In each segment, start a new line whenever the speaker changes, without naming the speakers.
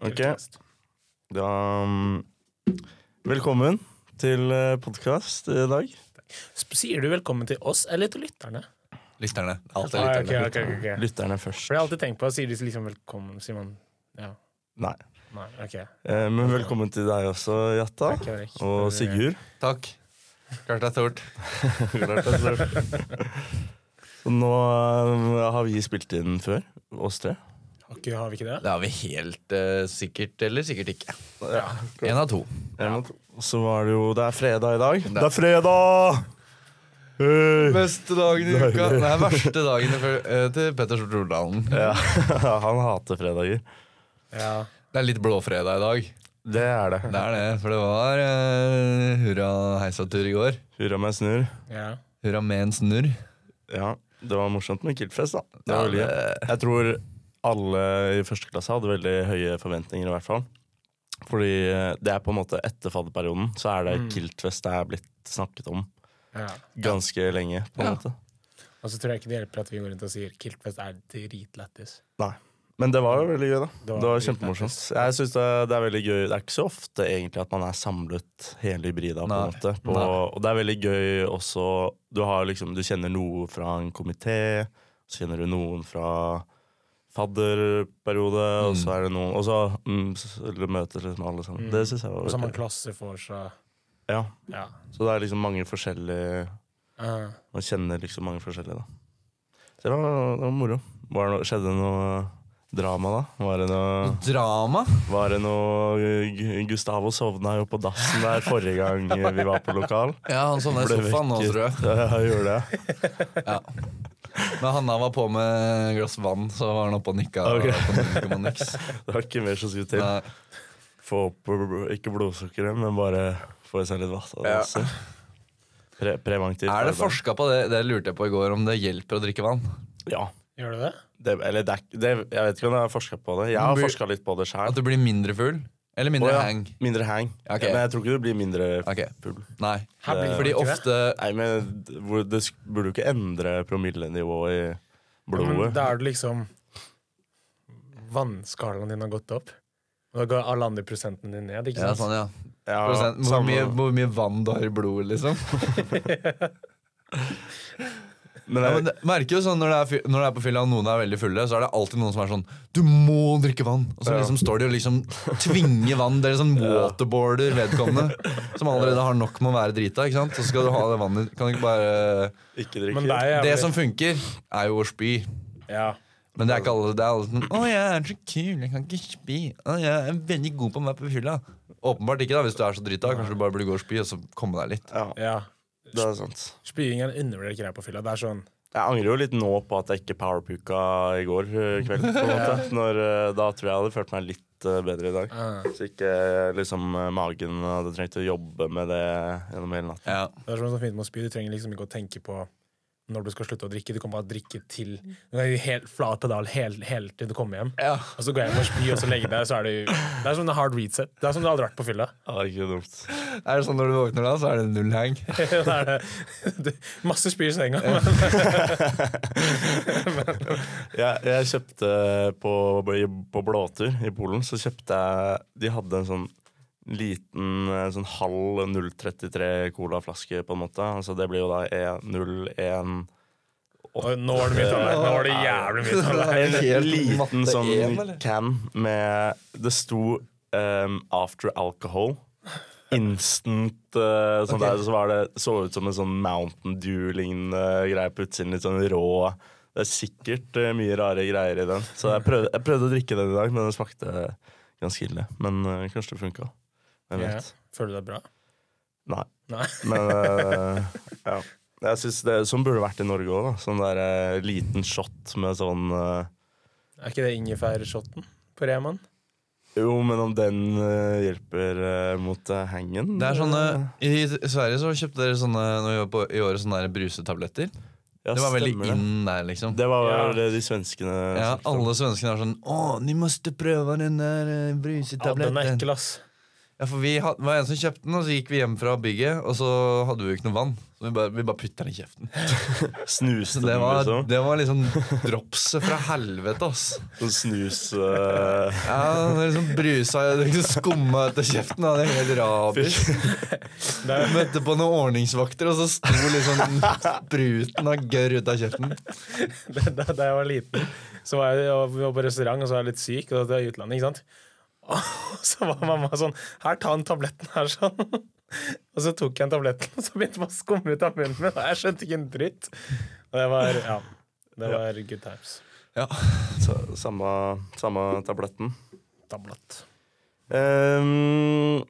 Ok. Da mm, Velkommen til podkast i dag.
Sp- Sier du velkommen til oss eller til lytterne?
Lytterne. Alt er
Ah,
lytterne.
ok, ok, ok, ok.
Lytterne først.
For jeg har alltid tenkt på, sier de liksom velkommen, sier man ja.
Nei.
Nei, ok.
Eh, Men velkommen til deg også, Jatta.
Takk, Henrik.
Og Sigurd.
Takk. Klart det er stort.
Så nå eh, har vi spilt inn før, oss tre.
Ok, har vi ikke det?
Det har vi helt eh, sikkert, eller sikkert ikke. En av to.
Og så var det jo Det er fredag i dag.
Det
Det er fredag! Hey.
Beste dagen i uka. Nei, verste dagen i fø- eh, til Petter Stort Jordalen.
Ja, han hater fredager.
Ja.
Det er litt blåfredag i dag.
Det er det.
Det er det, for det var eh, hurra heisatur i går.
Hurra meg snurr.
ja.
Hurra med en snurr.
Ja, det var morsomt med Kiltfest, da. Det
Ja,
var veldig gøy.
det-
Jeg tror alle i første klasse hadde veldig høye forventninger, i hvert fall. Fordi eh, det er på en måte etter fadderperioden, så er det Kiltfest det er blitt snakket om
ja.
ganske lenge, på en
Ja.
måte.
Og så tror jeg ikke det hjelper at vi går rundt og sier Kiltfest er dritlættis.
Nei. Men det var jo veldig gøy, da.
Det var
Det var
veldig
kjempemorsomt. Jeg synes det, det er veldig gøy. Det er ikke så ofte egentlig at man er samlet hele hybrida. på en
Nei.
måte. På,
Nei.
og det er veldig gøy også du, har liksom, du kjenner noe fra en komité, så kjenner du noen fra fadderperiode, og så er det noen Og så mm, s- møtes liksom alle sammen. Det synes jeg
Mm. Og
var
så har
veldig
man
gøy.
klasse for seg.
Ja.
Ja.
Så det er liksom mange forskjellige
Ah.
Man kjenner liksom mange forskjellige, da. Så det var, det var moro. Var det noe, skjedde det noe drama, da? Var det noe
Drama.
Var det noe eh, Gu- Gustavo sovna jo på dassen der forrige gang eh, vi var på lokal.
Ja, han sovna i
Ble
sofaen nå,
vekket.
tror jeg.
Ja, jeg gjorde det.
Ja. Men Hanna var på med et glass vann, så var han oppe og nikka.
Ok.
Okay. niks.
Det var ikke mer som skulle til.
Nei.
Få opp bl- ikke blodsukkeret, men bare få i seg litt vann.
Ja.
Altså. Pre preventivt.
Er det
arbeid.
forska på det? Det lurte jeg på i går, om det hjelper å drikke vann.
Ja.
Gjør du det?
Det, eller det, er ikke- det, jeg vet ikke om jeg har forska på det. Jeg har
Men blir-
forska litt på det sjøl.
At du blir mindre full? Eller mindre hang?
Mindre hang.
Ok.
Men jeg tror ikke du blir mindre
Ok.
full.
Nei.
Her blir det
Fordi
ikke det.
ofte
Nei, men d- hvor- det sk- burde jo ikke endre promillenivået i
Men
blodet.
da er det liksom Vannskalaen din har gått opp. Og da går alle andre prosentene dine ned. ikke
ja,
sant?
sånn, ja.
Ja,
Prosent, hvor,
samme-
mye, hvor mye vann du har i blodet, liksom.
men
Ja,
jeg,
men det, merker jo sånn når det, er, fy- når det er på fylla og noen er veldig fulle, så er det alltid noen som er sånn Du må drikke vann! Og så
Ja.
liksom står de og liksom tvinger vann. Det er sånn waterboarder vedkommende som allerede har nok med å være drita. ikke sant? Og så skal du ha det vannet. Kan du ikke bare
ikke drikke.
Men det er jævlig
Det som funker, er jo å spy.
ja.
Men det er ikke alle det er alle sånn 'Å, jeg er så kul, jeg kan ikke spy. Å, jeg er veldig god på å være på fylla'. Åpenbart ikke, da, hvis du er så drita. Kanskje du bare burde gå og spy, og så komme deg litt.
Ja,
ja.
det er sant.
Spying er en undervurdert greie på fylla. Det er sånn
Jeg angrer jo litt nå på at jeg ikke powerpuka i går eh, kveld. På en måte. Når, eh, da tror jeg jeg hadde følt meg litt eh, bedre i dag.
ah.
Så ikke eh, liksom eh, magen hadde trengt å jobbe med det gjennom hele natten.
Ja.
Det er sånn som fint med å spy. Du trenger liksom ikke å tenke på når du skal slutte å drikke. Du kan bare drikke til Du kan være helt flat pedal helt, helt til du kommer hjem.
Ja.
Og så går jeg hjem og spyr, og så legger jeg deg, så er du Det er som en hard reset. Det er som du aldri har vært på fylla.
Ja, ikke dumt.
Er det sånn når du våkner da, så er det null hang?
Da er det- du- Masse spy i senga. men-
Jeg, jeg kjøpte på, på blåtur i Polen, så kjøpte jeg De hadde en sånn liten eh, sånn halv 033 colaflaske, på en måte. Altså det blir jo da E01
Og nå var det mye tannleie. Nå var det jævlig mye tannleie.
En
Helt
liten
matte
sånn
en, eller?
can med Det sto ehm, 'after alcohol'. Instant eh, sånn
Ok.
der, Så var det så ut som en sånn Mountain Dew-lignende greie på utsiden. Litt sånn rå. Det er sikkert eh, mye rare greier i den. Så jeg prøvde, jeg prøvde å drikke den i dag, men den smakte ganske ille. Men eh, kanskje det funka. Hvem
Ja.
vet.
Føler du deg bra?
Nei.
Nei.
Men eh, ja. Jeg synes det Sånn burde det vært i Norge òg, da. Sånn der eh, liten shot med sånn eh,
Er ikke det ingefærshotten på Reman?
Jo, men om den eh, hjelper eh, mot eh, hangen
Det er sånne,
Mm.
I Sverige så kjøpte dere sånne når vi var på, i året sånne der brusetabletter.
Ja,
Det var veldig
stemmer det.
inn der, liksom.
Det var
Ja.
vel det de svenskene
Ja,
snakket om.
alle svenskene er sånn 'Å, ni måste prøve den der eh,
Ja, den er
brusetabletten'.
ekkel, ass.
Ja, for vi had, var en som kjøpte den, og så gikk vi hjem fra bygget, og så hadde vi jo ikke noe vann. Så vi bare, vi bare putter den i kjeften. Så
Snuste
det
den,
var,
liksom.
det var liksom dropset fra helvete, ass.
Sånn snus eh,
Ja, det liksom brusa det liksom skumma ut av kjeften. da. Det er helt rabies. Jeg møtte på noen ordningsvakter, og så sto liksom spruten av gørr ut av kjeften.
da, da- da jeg var liten, så var jeg og vi var på restaurant, og så var jeg litt syk, og det var i utlandet, ikke sant? Og så var mamma sånn Her, ta den tabletten her, sånn. Og så tok jeg den tabletten, og så begynte den å skumme ut av munnen min, og jeg skjønte ikke en dritt. Og det var Ja. Det var good times.
Ja.
sa- Samme, samme tabletten.
Tablett.
Ehm,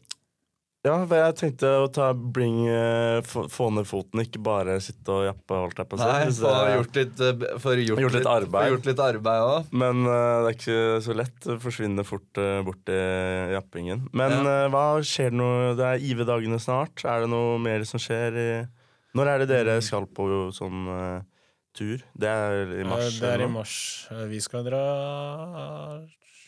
ja, hva jeg tenkte å ta bring eh, få, få ned foten, ikke bare sitte og jappe. Holdt jeg på å si.
Nei,
Hvis
få
det-
gjort litt, eh, få gjort
Gjort litt arbeid.
Få gjort litt arbeid også.
Men eh, det er ikke så lett. Det forsvinner fort eh, bort i jappingen. Men
Ja.
eh, hva skjer nå? Det er IV-dagene snart. Er det noe mer som skjer? I Når er det dere skal på sånn eh, tur? Det er i mars?
Eh, Det er
eller
i
noe?
mars. Eh, Vi skal dra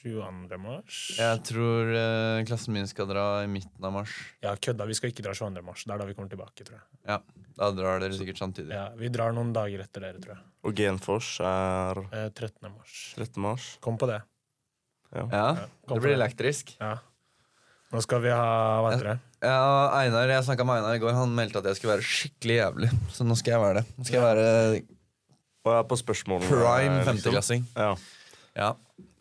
22. mars.
Jeg tror eh, klassen min skal dra i midten av mars.
Ja, kødda. Vi skal ikke dra 22. mars. Det er da vi kommer tilbake, tror jeg.
Ja, Da drar dere sikkert samtidig.
Ja, vi drar noen dager etter dere, tror jeg.
Og Genfors er
Eh, 13. mars.
13. mars.
Kom på det.
Ja,
Kom
Det
på
blir elektrisk.
Ja. Nå skal vi ha Hva heter det?
Ja, Einar, Jeg snakka med Einar i går. Han meldte at jeg skulle være skikkelig jævlig. Så nå skal jeg være det. Nå skal jeg være
Og jeg er på spørsmålene.
prime
eh, liksom.
femteklassing.
Ja,
Ja.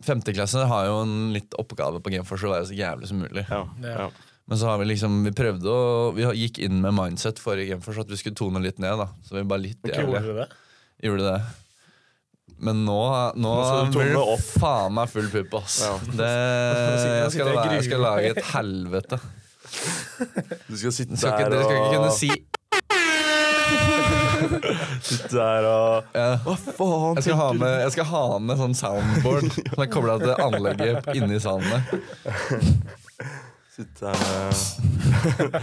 Femteklasser har jo en litt oppgave på Gameforce å være så jævlig som mulig.
ja,
Ja.
ja.
Men så har vi liksom, vi prøvde å Vi gikk inn med mindset forrige Gameforce at vi skulle tone litt ned. da Så vi var litt
Gjorde
jævlig.
dere det?
Gjorde det. Men nå, nå,
skal du
blir det
tone opp.
faen meg full pupp, ass.
Ja.
Det, jeg, skal,
sitter jeg og
la- jeg skal
gruer
lage
meg.
et helvete.
Du skal sitte
Dere skal ikke,
der
dere skal ikke
og
kunne si
Sitte der og
ja.
Hva faen?
jeg, skal ha med, jeg skal ha med sånn soundboard Sånn som er kobla til anlegget inni salen der.
Sitte der med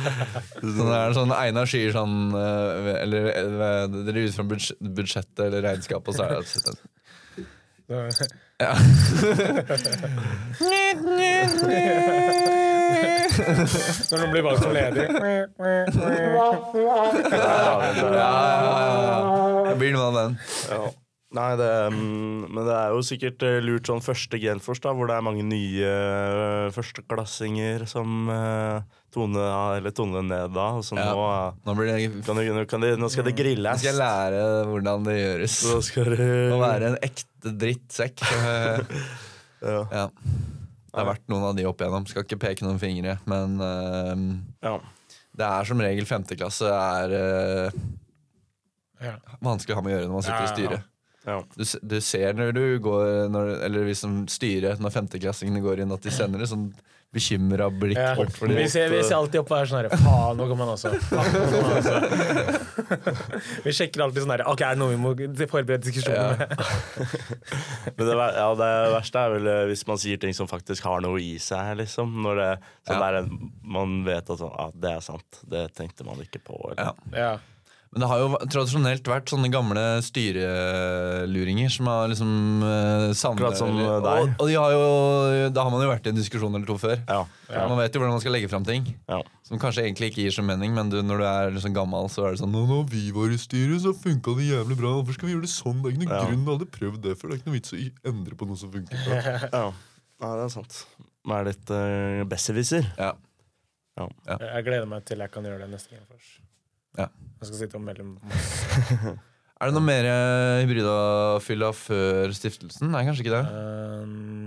Så det er sånn, Einar sier sånn eh, Eller eh, dere ut fra budsj- budsjettet eller regnskapet, og så er det
Så- Når noen blir valgt som leder
Ja, men det-
Jeg blir noe av den.
Ja. Nei, det, mm, men det er jo sikkert eh, lurt sånn første genfors, da, hvor det er mange nye eh, førsteklassinger som eh, tone, eller tone ned da. Og så
Ja.
nå,
Nå, blir det,
eh, kan de, nå, kan de, nå skal det
nå
grilles.
skal jeg lære hvordan det gjøres.
Så skal det
Å være en ekte drittsekk. Eh,
ja.
ja. Det har vært noen av de opp igjennom. Skal ikke peke noen fingre, men eh,
Ja.
det er som regel femteklasse er eh,
ja.
vanskelig å ha med å gjøre når man sitter i
Ja, ja.
styret.
Ja.
Du, s- du ser når du går når, Eller vi som styrer når femteklassingene går inn, at de sender et sånn bekymra blikk
Ja.
bort for eh,
Vi
dem.
ser, vi ser alltid opp og er sånn herre Faen, nå kan man også. Faen, nå kan man også. Vi sjekker alltid sånn herre Ok, er det noe vi må forberede diskusjonen med?
Men det, ver- ja, det verste er vel eh, hvis man sier ting som faktisk har noe i seg, liksom. Når det, så
Ja.
det er en, man vet at sånn, ah, det er sant, det tenkte man ikke på. Eller.
Ja.
Ja.
Men det har jo va- tradisjonelt vært sånne gamle styreluringer som har liksom eh, savnet-
Akkurat som, eh,
eller-
deg.
Og, og de har jo, da har man jo vært i en diskusjon eller to før.
Ja.
Ja.
Man vet jo hvordan man skal legge fram ting.
Ja.
Som kanskje egentlig ikke gir så mening, men du, når du er liksom gammel, så er det sånn Nå, når vi var i styret, så funka det jævlig bra. Hvorfor skal vi gjøre det sånn? Det er ikke noen
Ja.
grunn. Jeg har aldri prøvd det før. Det er ikke noe vits å y- endre på noe som funker bra.
ja. Nei, det er sant. Man er litt uh, besserwisser.
Ja.
Jeg gleder meg til jeg kan gjøre det neste gang først.
Ja.
Jeg skal sitte og mellom
Er det noe mer eh, hybridafylla før stiftelsen? Nei, kanskje ikke det.
Eh,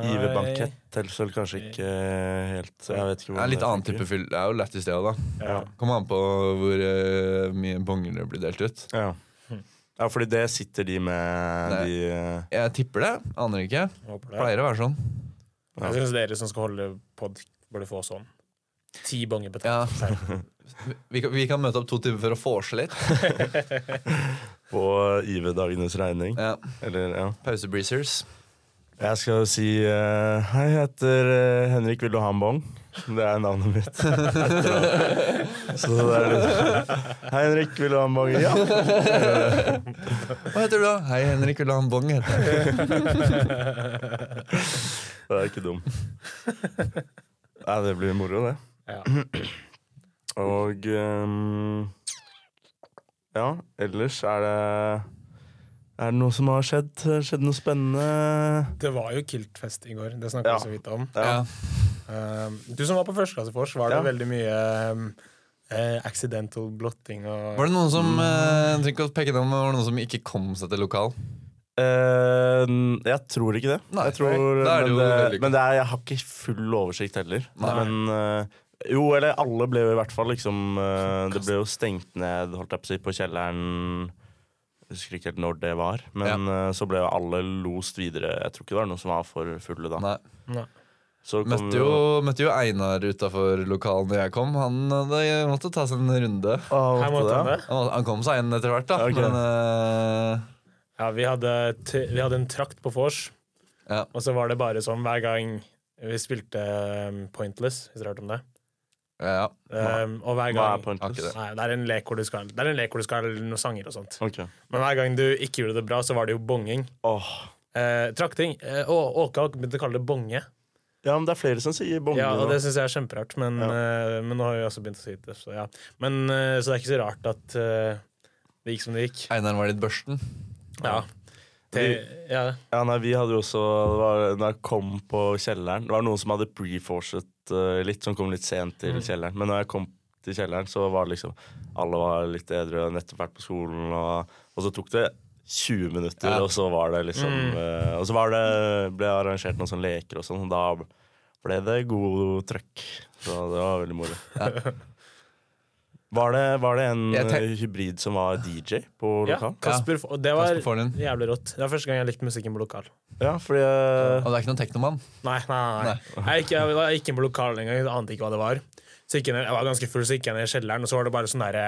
Give
IV-bankett.
bankett eller så kanskje ikke eh, helt Jeg vet ikke
Det er litt annen type fyll. Det er jo lættis, det òg, da.
Ja.
Kommer an på hvor eh, mye bonger det blir delt ut.
Ja.
Hm.
ja, fordi det sitter de med
Nei.
de eh,
Jeg tipper det. Aner ikke.
Håper det.
Pleier å være sånn.
Ja.
Jeg syns dere som skal holde pod, burde få sånn. Ti bonger
Ja.
betalt. Ja.
Vi kan, vi kan møte opp to timer for å forse litt.
på IV-dagenes regning.
Ja.
Eller, ja.
Pausebreezers.
Jeg skal si eh, Hei, jeg heter eh, Henrik, vil du ha en bong? Det er navnet mitt. så det er litt Hei, Henrik, vil du ha en bong? Ja.
Hva heter du, da? Hei, Henrik Ulan Bong. heter jeg.
Det er ikke dum. Nei, det blir moro, det.
Ja.
Og ehm, ja, ellers er det Er det noe som har skjedd? Skjedd noe spennende?
Det var jo Kiltfest i går, det snakka vi
Ja.
så vidt om.
Ja.
Um, du som var på førsteklassefors, var det
Ja.
veldig mye um, eh, accidental blotting og
Var det noen som eh, jeg trenger ikke å peke navn, men var det noen som ikke kom seg til lokal?
Eh, jeg tror ikke det.
Nei,
jeg tror, eh,
nei. Da er det jo
men det,
vellykket.
men det er, jeg har ikke full oversikt heller.
Nei.
Men eh, jo, eller alle ble jo i hvert fall liksom eh, Det ble jo stengt ned, holdt jeg på å si, på kjelleren. Jeg husker ikke helt når det var, men eh, så ble jo alle lost videre. Jeg tror ikke det var noen som var for fulle da.
Nei.
Nei.
Så kom
Møtte jo, møtte jo Einar utafor lokalen da jeg kom. Han hadde- måtte ta seg en runde.
Å,
Her
måtte
måtte
det?
han det.
Han han kom seg inn etter hvert, da.
Ok.
Men eh,
Ja, vi hadde, t vi hadde en trakt på vors,
ja.
og så var det bare sånn hver gang vi spilte um, Pointless, hvis dere har hørt om det.
ja.
Um, og hver
Hva er
gang
Har ikke
pointless?
det.
Nei, det er en lek hvor du skal Det er en lek hvor du skal ha noen sanger og sånt.
Ok.
Men hver gang du ikke gjorde det bra, så var det jo bonging.
Åh.
Eh, trakting. Eh, og Åke har begynt å kalle det bonge.
Ja, men det er flere som sier bonge.
Ja, og
nå.
det syns jeg er kjemperart, men,
Ja.
eh, men nå har vi også begynt å si det. Så, ja. men, eh, så det er ikke så rart at eh, det gikk som det gikk.
Einar var litt børsten.
Ja. Til, ja.
Ja, nei, vi hadde jo også det var, Når jeg kom på kjelleren Det var noen som hadde pre-forset eh, litt, som kom litt sent til
Mm.
kjelleren. Men når jeg kom til kjelleren, så var det liksom Alle var litt edru, hadde nettopp vært på skolen, og, og så tok det 20 minutter,
Ja. Mm.
og så var det liksom eh, Og så var det, ble det arrangert noen sånne leker og sånn, og da ble det god trøkk. Så det var veldig moro. Var det, var det en
Jeg tenk-
eh, hybrid som var DJ på
ja.
lokal?
Kasper, F- og det var
Kasper Forlund.
jævlig rått. Det var første gang jeg likte musikken på lokal.
Ja, fordi eh,
Og det er ikke noen teknomann.
Nei, nei, nei. nei. Jeg, gikk, jeg, jeg gikk inn på lokalet engang, jeg ante ikke hva det var. Så gikk jeg, ned, jeg var ganske full, så gikk jeg ned i kjelleren, og så var det bare sånn derre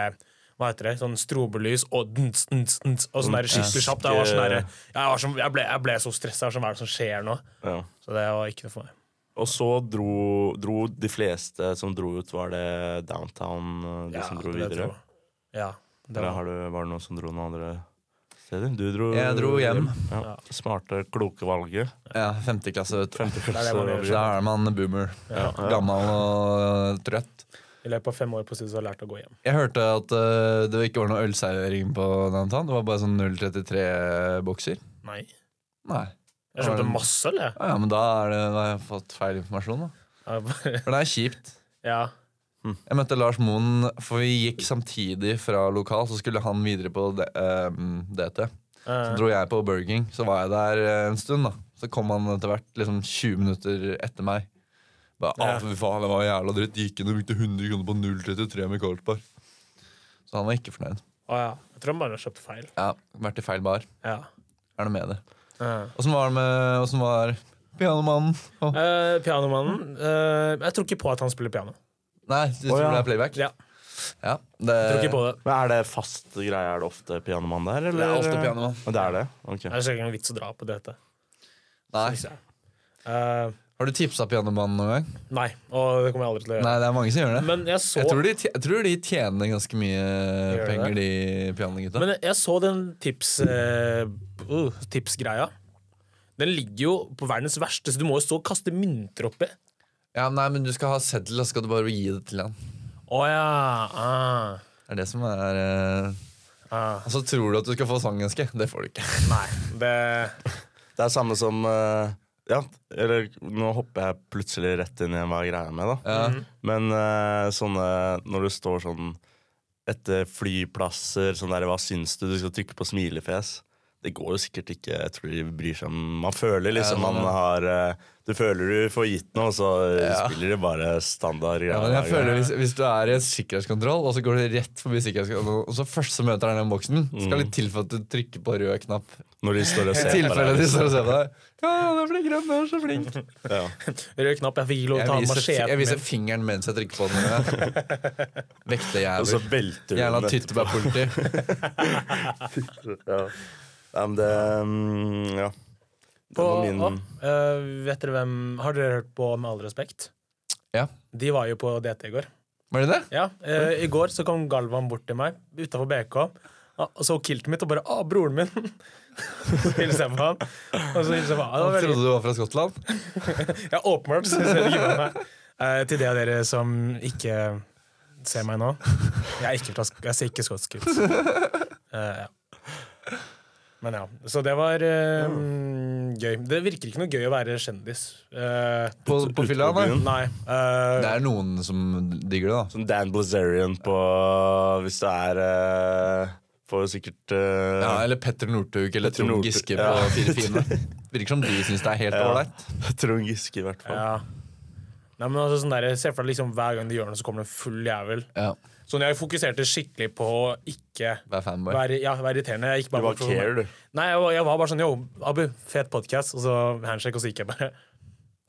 hva heter det? Sånn strobelys og dns, dns, dns, og sånn der skikkelig kjapt. Jeg, var sånn der, jeg, var sånn, jeg, ble, jeg ble så stressa. Sånn, hva er det som skjer nå?
ja.
Så det var ikke noe for meg.
Og så dro, dro de fleste som dro ut, var det downtown eh, de som dro
det vil jeg
videre?
tro. Ja, det
Eller
var.
har du, var det noen som dro noen andre steder? Du dro
Jeg dro hjem.
Ja.
Ja.
Smarte, kloke valget.
Ja, femte klasse. vet du.
Nei, det var det.
Da er man boomer. Gammel og trøtt.
I løpet av fem år på studiet så har jeg lært å gå hjem.
Jeg hørte at eh, det ikke var noe ølservering på Downtown. Det var bare sånn 033-bokser.
Nei.
Nei.
Jeg
Har
kjøpte
du-
masse øl, jeg.
Ja, ja, men da, er det, da har jeg fått feil informasjon, da.
Jeg bare-
For det er kjipt.
Ja.
Jeg møtte Lars Moen, for vi gikk samtidig fra lokal, så skulle han videre på D- ehm, DT. Så
Eh,
dro jeg på Burger King, så var jeg der eh, en stund, da. Så kom han etter hvert, liksom 20 minutter etter meg. Bare, ah,
Ja.
fy faen, det var jævla dritt. Gikk inn og brukte 100 kroner på 0,33 med Carlsberg. Så han var ikke fornøyd.
Å ja. Jeg tror han bare har kjøpt feil.
Ja, Vært i feil bar.
Ja.
Er det med det?
Eh.
Åssen var det med Åssen var pianomannen? Å,
Eh, pianomannen eh, Jeg tror ikke på at han spiller piano.
Nei, du
Å,
tror
ja.
det er playback?
Ja,
Ja, det,
jeg tror ikke på det.
Men er det fast greie? Er det ofte pianomann der?
det
Eller?
er ofte pianomann.
Men Det er det? Ok.
Det er ikke engang vits å dra på dette.
Nei.
synes jeg. Eh,
Har du tipsa pianomannen noen gang?
nei, og det kommer jeg aldri til å gjøre.
Nei, det er mange som gjør det.
Men jeg så,
Jeg tror, de, tje- jeg tror de tjener ganske mye
Gjør de
penger, de pianogutta.
men jeg så den tips, eh, uh, tipsgreia. Den ligger jo på verdens verste, så du må jo stå og kaste mynter oppi.
Ja, nei, men du skal ha seddel, og så skal du bare gi det til han.
Å ja. Ah,
Det er det som er eh,
ah.
Og så tror du at du skal få sangønske. Det får du ikke.
Nei, det
Det er samme som eh, Ja, eller nå hopper jeg plutselig rett inn i hva greia er med, da.
Ja.
Men eh, sånne Når du står sånn etter flyplasser, sånn der, hva syns du? Du skal trykke på smilefjes. Det går jo sikkert ikke. Jeg tror de bryr seg om Man føler liksom
Ja, sånn,
man har eh, Du føler du får gitt noe, og så
Ja.
spiller de bare standard
Ja,
greier.
men jeg føler hvis, hvis du er i en sikkerhetskontroll, og så går du rett forbi sikkerhetskontrollen, og så først så møter den den boksen,
Mm.
skal litt til for at du trykker på rød knapp.
Når de står og
I
ser på
tilfelle de
deg.
står og ser på deg. Ja, du er flink, grønn, du er så flink.
Ja.
Rød knapp. Jeg fikk ikke lov til å
Jeg
ta av
viser,
macheten
jeg viser
min.
fingeren mens jeg trykker på den.
Og så
Vektejævel.
velter du
Jævla
den etterpå.
tyttebærpoliti.
Ja. Ja, men det mm, Ja. Det
På,
var min
å, eh, vet dere hvem Har dere hørt på Med all respekt?
Ja.
De var jo på DT i går.
Var det det?
Ja, eh, I går så kom Galvan bort til meg utafor BK og så kiltet mitt og bare 'Å, broren min!' hilser jeg på ham. Og så hilser jeg på ham. Det var
Han
veldig,
trodde du var fra Skottland?
ja, åpenbart. Så hilser jeg ikke på meg. Eh, til det av dere som ikke ser meg nå. Jeg er ikke fra Sk- jeg ser ikke skotsk ut. Eh, ja. Men ja. Så det var eh, gøy. Det virker ikke noe gøy å være kjendis. Eh,
På, på fylla,
Ute
nei.
på byen. Sånn,
nei. eh,
Det er noen som digger det, da.
Som Dan Blazarian på Hvis det er eh, Får jo sikkert eh,
Ja, eller Petter Northug eller
Petter
Trond
Northug,
Giske på
ja.
Fire fine. Virker som de syns det er helt
Ja.
ålreit.
Trond Giske, i hvert fall.
ja. Nei, men altså, sånn der, Se for deg liksom, hver gang de gjør noe, så kommer det en full jævel.
Ja.
Sånn, Jeg fokuserte skikkelig på å ikke
Vær fanboy.
være, ja, være irriterende. Jeg
Du
gikk bare
bare
for-
care, du.
Nei, jeg var, jeg var bare sånn Yo, Abu, fet podkast. Og så handshake, og så gikk jeg bare.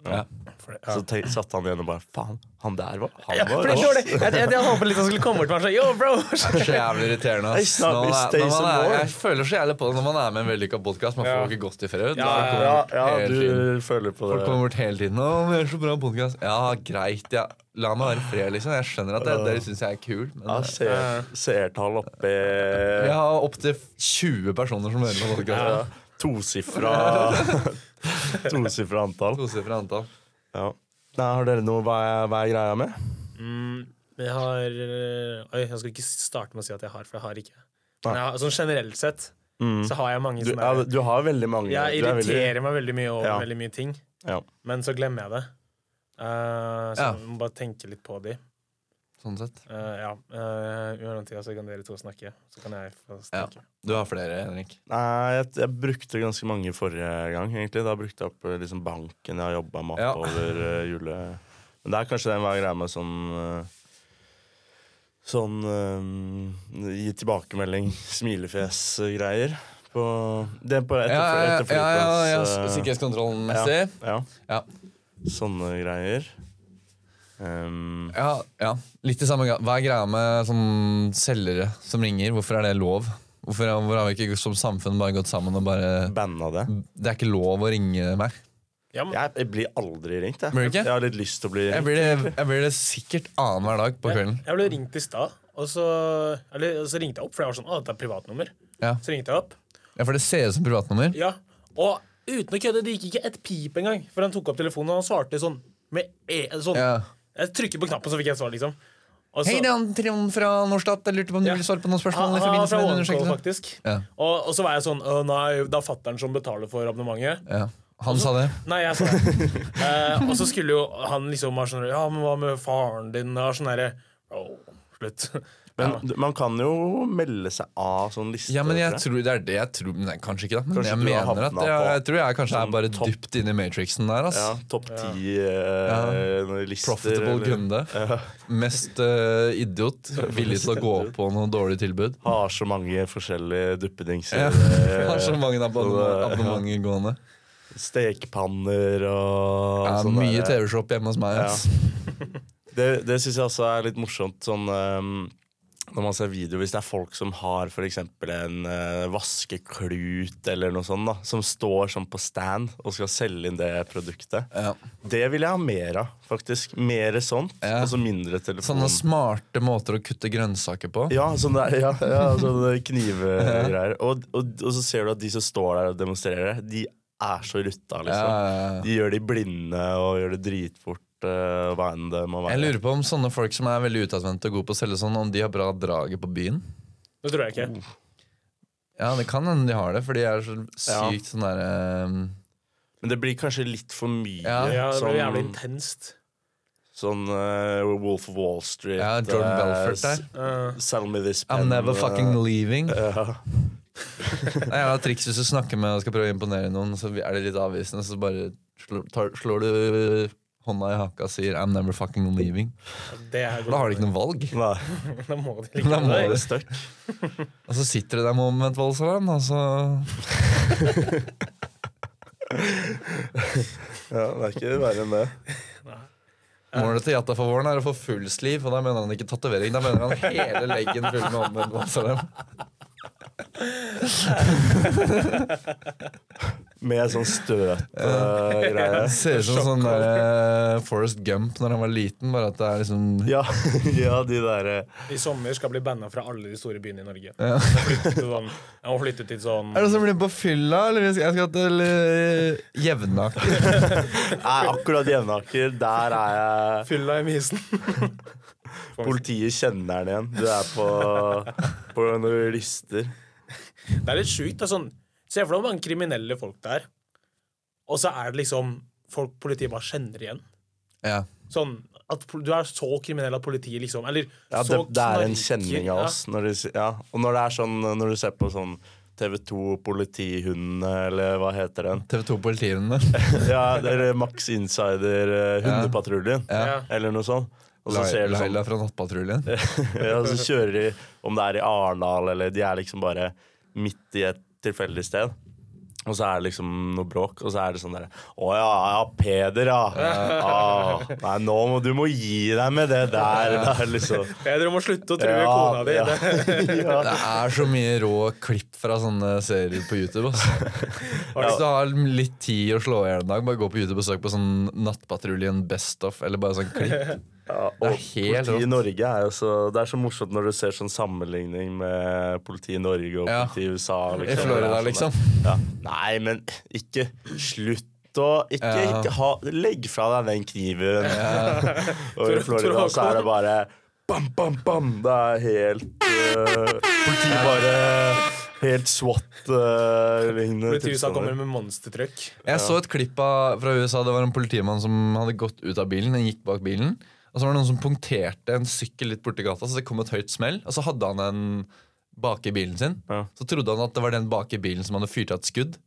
Ja.
For, ja.
Så tenk, satte han igjen og bare Faen, han der var Han
Ja, for
var
det
rå.
var det. Jeg, jeg, jeg håpet litt han skulle komme bort til meg og si yo, bro.
Så jævlig irriterende. Ass.
It's not
Når man er, når
this day
man
some
er,
more.
jeg føler så jævlig på det når man er med i en vellykka podkast. Man får
Ja.
ikke godt i fred.
Ja,
Da kommer
Ja,
man bort
ja,
hele tiden.
du føler på
Folk
det.
kommer bort hele tiden. 'Å, men det er så bra podcast. Ja, greit. Ja. La meg være i fred, liksom. Jeg skjønner at det, dere syns jeg er kul, men
Ja,
eh,
seer- Seertall oppi
jeg har opptil 20 personer som hører på podkasten.
ja, tosifra Tosifra antall.
Tosifra antall.
Ja. Nei, har dere noe hva er, hva er greia med?
Mm, jeg har øh, Oi, jeg skal ikke starte med å si at jeg har, for jeg har ikke. Men jeg har, sånn generelt sett så har jeg mange
Du,
sånne
ja, du har veldig mange.
Jeg
du er veldig-
irriterer meg veldig mye over
Ja.
veldig mye ting,
ja.
men så glemmer jeg det. Eh, så
Ja.
jeg må bare tenke litt på de.
Sånn sett.
Eh, ja. Uh, Uansett tida så kan dere to snakke, så kan jeg få
Ja.
snakke.
Du har flere, Henrik.
Nei, jeg, jeg brukte ganske mange forrige gang, egentlig. Da brukte jeg opp eh, liksom, banken jeg har jobba med
Ja.
oppover eh, jule... Men det er kanskje den var greia med sånn eh, Sånn eh, gi tilbakemelding, smilefjes-greier. På Det på etter,
Ja, ja,
etter
ja, ja, ja,
flyplass, eh,
sikkerhetskontrollmessig.
ja,
Ja.
Sånne greier. Ehm,
Ja, ja. Litt i samme ga- Hva er greia med sånn selgere som ringer? Hvorfor er det lov? Hvorfor, er- hvorfor har vi ikke som samfunn bare gått sammen og bare
banna det.
Det er ikke lov å ringe meg.
Ja, men,
Jeg, jeg blir aldri ringt, jeg.
Blir du ikke?
Jeg har litt lyst til å bli
Jeg
ringt.
blir det, jeg blir det sikkert annenhver dag på
jeg,
kvelden.
jeg ble ringt i stad, og så, eller, så ringte jeg opp, for jeg var sånn Å, dette er privatnummer.
Ja.
Så ringte jeg opp.
Ja, For det ser ut som privatnummer.
Ja, og uten å kødde, det gikk ikke et pip engang før han tok opp telefonen, og han svarte sånn med e sånn.
Ja.
Jeg trykker på knappen, så fikk jeg et svar, liksom. Og så-
Hei, det er han Trond fra Norstat. Jeg lurte på om du
Ja.
ville svare på noen
Han
spørsmål. i
han var
forbindelse
fra
med en
Ovenkål,
undersøkelse
faktisk.
Ja.
Og, og så var jeg sånn Å nei, det er fatter'n som betaler for abonnementet.
ja. Han sa det.
Nei, jeg sa det. eh, og så skulle jo han liksom være sånn Ja, men hva med faren din? Og sånn derre Å, slutt.
Men d- man kan jo melde seg av sånn liste.
Ja, men jeg
tror
tror
jeg.
det er det jeg tror Nei, kanskje ikke, da. Men
Kanskje
jeg
du har
mener at
havnet
jeg,
på
jeg tror jeg kanskje er
sånn
bare
topp.
dypt inne i matrixen der. ass.
Ja, Topp ti eh, lister.
Profitable
eller-
kunde. Mest eh, idiot. Villig til å gå på noe dårlig tilbud.
Har så mange forskjellige duppedingser.
Ja.
eh,
Har så mange abonnement-
Så det-
abonnementer gående.
Stekepanner og
Det er
sånn
mye
der.
TV-shop hjemme hos meg. ass.
Det, det syns jeg også er litt morsomt sånn ehm, når man ser videoer, hvis det er folk som har f.eks. en eh, vaskeklut eller noe sånt, da, som står sånn på stand og skal selge inn det produktet.
Ja.
Det vil jeg ha mer av, faktisk. Mer sånt,
Ja.
og så mindre telefon.
Sånne smarte måter å kutte grønnsaker på.
Mm. Ja, sånn der, ja, ja, sånne knivegreier. Og, og, og så ser du at de som står der og demonstrerer, de er så rutta,
Ja,
liksom.
ja, ja.
De gjør de blinde og gjør det dritfort, eh, hva enn det må
Jeg
være.
lurer på om sånne folk som er veldig utadvendte og gode på å selge sånn, om de har bra draget på byen.
Det tror jeg ikke.
Ja, det kan hende de har det, for de er så sykt sånn derre
Men det blir kanskje litt for mye.
Ja.
Ja, det ble jævlig
sånn
intenst.
sånn eh, Wolf of Wall Street.
Ja, Jordan
eh,
Belfort der.
s-
Eh,
Sell me this
I'm
pen,
never
eh,
fucking leaving. Det
ja.
er jævla triks hvis du snakker med og skal prøve å imponere noen, så er det litt avvisende, så bare slår, tar, slår du hånda i haka og sier 'I'm never fucking leaving'.
det er
Da har de ikke noe valg.
Nei,
Da må de
Da
like
må
det.
det er støkk.
Og så sitter du der med omvendt voldsalarm, og så
Ja, det er ikke verre enn det.
Målet til Jatta for våren er å få full sliv, og da mener han ikke tatovering. Da mener han hele leggen full med omvendt voldsalarm.
Med sånn støt-greie.
Ser ut som sånn der eh, Forrest Gump når han var liten, bare at det er liksom
ja, ja, de eh, derre
I sommer skal jeg bli banna fra alle de store byene i Norge.
Ja.
Jeg må flytte til sånn, jeg må flytte til sånn
Er det som blir på fylla, eller jeg skal til eh, Jevnaker?
Nei, akkurat Jevnaker. Der er
sånn-
jeg
Fylla i misen.
Politiet kjenner den igjen. Du er på, på noen lister.
Det er litt sjukt. da, Sånn, Se for deg hvor mange kriminelle folk det er, og så er det liksom folk politiet bare kjenner igjen.
Ja.
Sånn at pol- du er så kriminell at politiet liksom Eller
Ja, det,
så
det er en
knarker-
kjenning av oss. Når de, si- ja. Og når det er sånn eh, Når du ser på sånn TV2 Politihundene, eller hva heter den?
TV 2-politihundene.
Ja, Eller Max Insider eh, Hundepatruljen,
Ja.
Ja.
Ja.
eller noe sånt. Og så ser du sånn
Laila fra Nattpatruljen.
ja, og så kjører de, om det er i Arendal eller De er liksom bare midt i et tilfeldig sted. Og så er det liksom noe bråk, og så er det sånn derre Å ja, ja, Peder, ja. Ah, nei, nå må du må gi deg med det der. Det er liksom
Peder, du må slutte å true
Ja,
kona di.
ja.
Det-
ja.
Det er så mye rå klipp fra sånne serier på YouTube. Altså. Hvis du har litt tid å slå i hjel en dag, bare gå på YouTube og søk på sånn Nattpatruljen Best of, eller bare sånn klipp.
Ja,
Det
og
er helt
politiet i
rått.
Norge er jo så Det er så morsomt når du ser sånn sammenligning med politiet i Norge og
Ja.
politiet i USA.
I Florida,
Det er sånn
liksom.
der, Ja. Nei, men ikke slutt å ikke,
Ja.
ikke ha, Legg fra deg den kniven. og
Tror-
i
tror
Florida
han
så er det bare bam, bam, bam. Det er helt øh, Politiet bare Helt øh, SWAT-lignende
Politiet i USA kommer med monstertrykk.
Jeg så et klipp av, fra USA. Det var en politimann som hadde gått ut av bilen. Han gikk bak bilen Og så var det noen som punkterte en sykkel litt borti gata, så det kom et høyt smell. Og så hadde han en bak i bilen sin.
Ja.
Så trodde han at det var den bak i bilen som hadde fyrt av et skudd.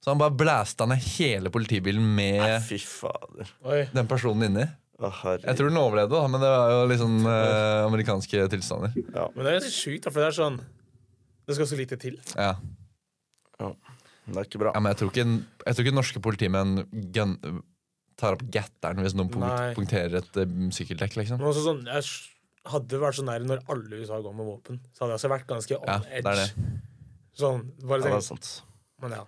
Så han bare blæsta ned hele politibilen med
Fy fader.
Oi.
den personen inni.
Å,
Jeg
herregud.
tror den overlevde, da, men det var jo litt sånn eh, amerikanske tilstander.
Men det er ganske sjukt, da, for det er sånn Det skal så lite til.
Ja.
Det er ikke bra.
ja, Men jeg tror ikke, jeg tror ikke norske politimenn gun, tar opp gatteren hvis noen punkt,
Nei.
punkterer et eh, sykkeldekk, liksom.
Men også sånn, jeg s- hadde vært så nær når alle i USA går med våpen. Så hadde jeg også vært ganske on
Ja,
edge.
det er det.
Sånn, bare
Ja, det er
tenk,
sant.
men ja.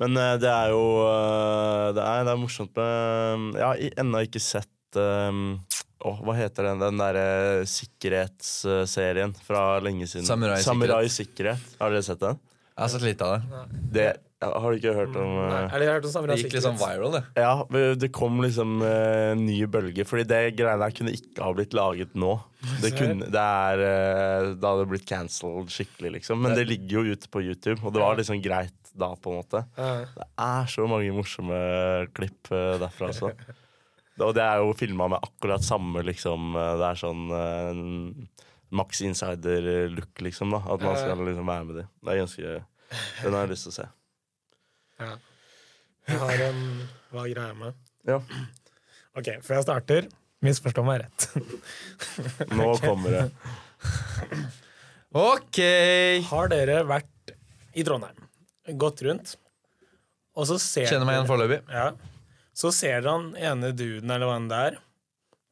Men eh, det er jo eh, det er, det er morsomt med eh, Jeg har i- ennå ikke sett eh, åh, hva heter den, den derre sikkerhetsserien fra lenge siden?
Samurai Sikkerhet.
Samurai Sikkerhet. Har dere sett den?
Jeg har sett litt av det.
Det har du ikke hørt om eh, liksom
Nei, eller jeg har hørt om samme
Det gikk litt sånn
sikkerhet.
viral, det.
Ja, det kom liksom eh, en ny bølge. Fordi det greiene her kunne ikke ha blitt laget nå. Det, kunne, det, er, eh, det hadde blitt cancelled skikkelig, liksom. Men det ligger jo ute på YouTube, og det var liksom greit da, på en måte.
Ja.
Det er så mange morsomme klipp eh, derfra også. Det- Og det er jo filma med akkurat samme liksom eh, Det er sånn eh, en Max Insider-look, liksom. da At man
Ja, ja.
skal liksom være med de. Det er ganske Den har jeg lyst til å se.
Ja. Jeg har en Hva er greia med
Ja,
OK, før jeg starter Misforstå meg rett.
nå kommer det.
Ok!
Har dere vært i Trondheim, gått rundt, og så ser
Kjenner meg igjen foreløpig.
Ja. Så ser dere han ene duden eller hva enn det er,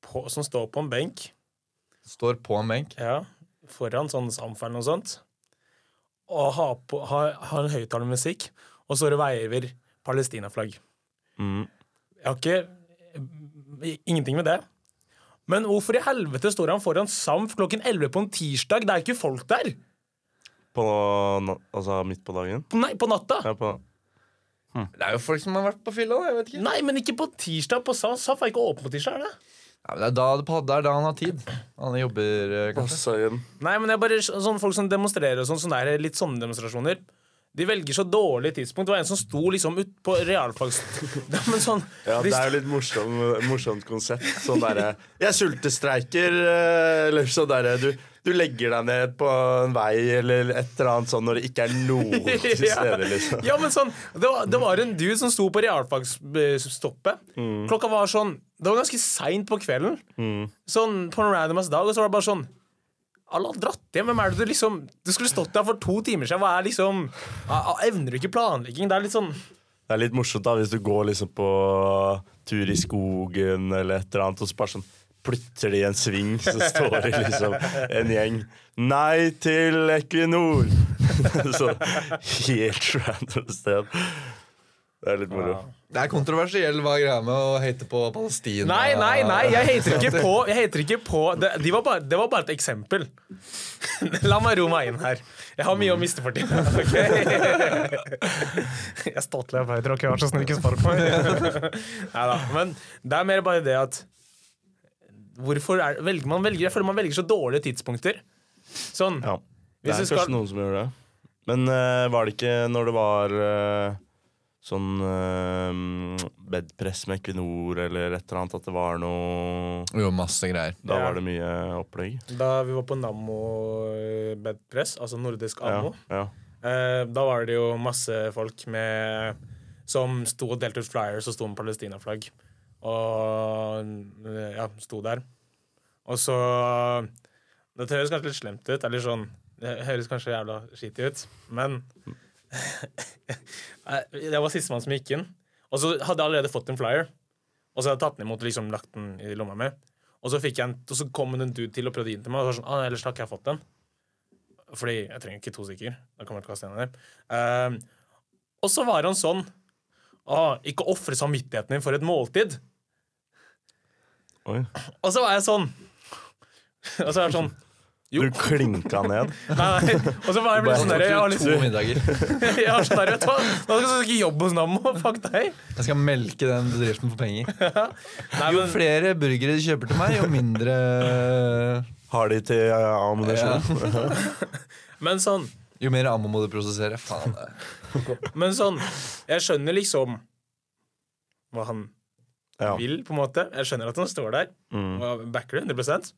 på, som står på en benk
Står på en benk.
ja, foran sånn samferden og sånt, og har, på, har, har en høyttaler med musikk, og så veiver Palestina-flagg.
Mm.
Jeg har ikke Ingenting med det. Men hvorfor i helvete står han foran SAMF klokken 11 på en tirsdag? Det er ikke folk der!
På, na- altså midt på dagen?
På- Nei, på natta!
Ja, på,
Det er jo folk som har vært på fylla, da. Jeg vet ikke.
Nei, men ikke på tirsdag. På SAF, SAF er ikke åpen på tirsdag, er det?
Ja, men det er da det på- det er da han har tid. Han jobber eh, kanskje.
Nei, men det er bare så- sånn folk som demonstrerer og sånn, sånn der, litt sånne demonstrasjoner. De velger så dårlig tidspunkt. Det var en som sto liksom ut på realfags... Nei, men sånn,
Ja,
de
det er jo litt morsom, morsomt konsept. Sånn derre Jeg sultestreiker, eh, eller sånn derre du, du legger deg ned på en vei eller et eller annet sånn når det ikke er noen til stede, liksom.
ja, men sånn, det var, det var en dude som sto på realfagsstoppet.
Mm.
Klokka var sånn Det var ganske seint på kvelden. Sånn på en random ass dag, og så var det bare sånn Alle har dratt hjem. Hvem er det du liksom Du skulle stått der for to timer siden. Hva er liksom a- a- Evner du ikke planlegging? Det er litt sånn
Det er litt morsomt da hvis du går liksom på tur i skogen eller et eller annet, og så bare sånn plutter de i en sving, så står det liksom en gjeng Nei til Equinor! sånn helt random sted. Det er litt moro.
Det er kontroversiell hva greia med å hate på Palestina.
Nei, nei, nei, jeg hater ikke på, jeg hater ikke på det, de var bare, det var bare et eksempel. La meg ro meg inn her. Jeg har mye å miste for tiden. ok? Jeg er stolt av arbeider, ok, vær så snill, ikke spark meg. Neida, men det er mer bare det at Hvorfor er, velger man velger? Jeg føler man velger så dårlige tidspunkter. Sånn.
Ja.
Hvis
Det
du
er
skal-
kanskje noen som gjør det. Men eh, var det ikke når det var eh, sånn eh, bedpress med Equinor eller et eller annet, at det var noe
Jo, masse greier.
Da
Ja.
var det mye opplegg?
Da vi var på Nammo bedpress, altså nordisk ammo,
ja.
eh, da var det jo masse folk med som sto og delte ut flyers og sto med Palestina-flagg. Og eh, ja, sto der. Og så Det høres kanskje litt slemt ut, eller sånn Det høres kanskje jævla skittig ut, men Jeg var sistemann som gikk inn, og så hadde jeg allerede fått en flyer. Og så hadde jeg tatt den imot og liksom lagt den i lomma mi. Og så, fikk jeg en, og så kom det en dude til og prøvde å gi den til meg. Og så var jeg sånn, ah, ellers takk, jeg har fått den. Fordi jeg trenger ikke to stykker. Da kommer jeg til å kaste en av dem. Ehm, og så var han sånn ah, Ikke ofre samvittigheten din for et måltid.
Oi.
Og så var jeg sånn. Og så var jeg sånn Jo.
Du klinka ned.
Nei, nei. Og så var jeg litt sånn der, jeg var litt,
to middager.
jeg var sånn der, vet du hva. Nå skal du ikke jobbe hos Nammo. Fuck deg.
Jeg skal melke den bedriften for penger.
Nei,
Jo
men,
flere burgere de kjøper til meg, jo mindre
Har de til eh, ammunisjon?
men sånn
Jo mer ammo må du prosessere. Faen. det-
Men sånn, jeg skjønner liksom hva han
Ja.
vil, på en måte. Jeg skjønner at han står der
Mm.
og backer det 100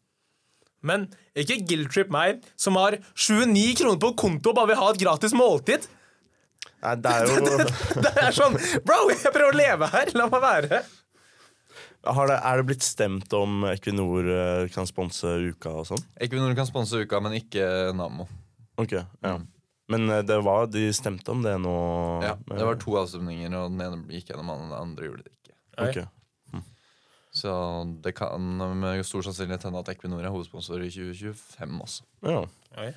Men ikke guilt-trip meg, som har 29 kroner på konto og bare vil ha et gratis måltid.
Nei, det er jo
Det er sånn Bro, jeg prøver å leve her! La meg være.
har det, Er det blitt stemt om Equinor eh, kan sponse uka og sånn?
Equinor kan sponse uka, men ikke Nammo.
Ok, ja.
Mm.
Men eh, det var, de stemte om det nå?
Ja, det var to avstemninger, og den ene gikk gjennom, og den andre gjorde det ikke.
Ok.
Så det kan med stor sannsynlighet hende at Equinor er hovedsponsor i 2025 også.
Ja.
Oi.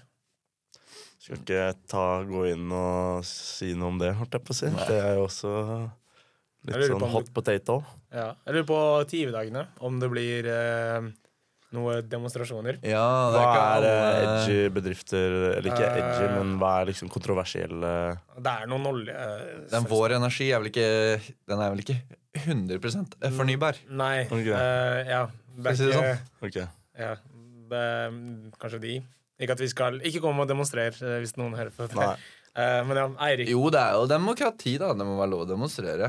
Skal ikke ta, gå inn og si noe om det, holdt jeg på å si. Det er jo også litt
Jeg lurer på
sånn
om
hot potato.
Ja. Jeg lurer på TIV-dagene, om det blir eh, noen demonstrasjoner.
Ja, det
Hva er eh,
alle-
edgy bedrifter Eller ikke edgy,
Eh.
men hva er liksom kontroversielle
Det er noen olje... eh,
Den vår energi er vel ikke Den er vel ikke 100 fornybar.
Nei.
Ok.
eh, ja.
Skal jeg si det
Backer-
sånn?
Ok.
Ja, det, kanskje de. Ikke at vi skal Ikke kom og demonstrer eh, hvis noen hører på. det.
Nei.
Eh, men ja, Eirik
Jo, det er jo demokrati, da. Det må være lov å demonstrere.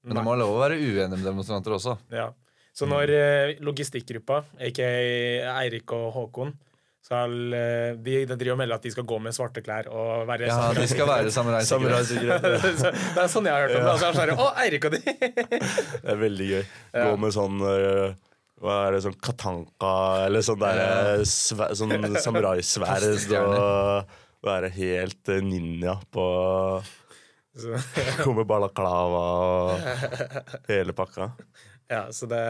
Men det
Nei,
må være lov å være uenig med demonstranter også.
ja. Så
Mm.
når eh, logistikkgruppa, aka Eirik og Håkon, skal eh, De, de driver og melder at de skal gå med svarte klær og være
Ja,
samurai.
De skal være samurai.
Samurai-sikkerhet.
Så det er sånn jeg har hørt om det. Altså, jeg er sånn, Å, Eirik og de!
Det er veldig gøy. Gå med sånn øh, hva er det, sånn katanka eller sånn derre svæ- sånn samuraisverd og være helt øh, ninja på
Så,
Komme balaklava og hele pakka.
ja, så det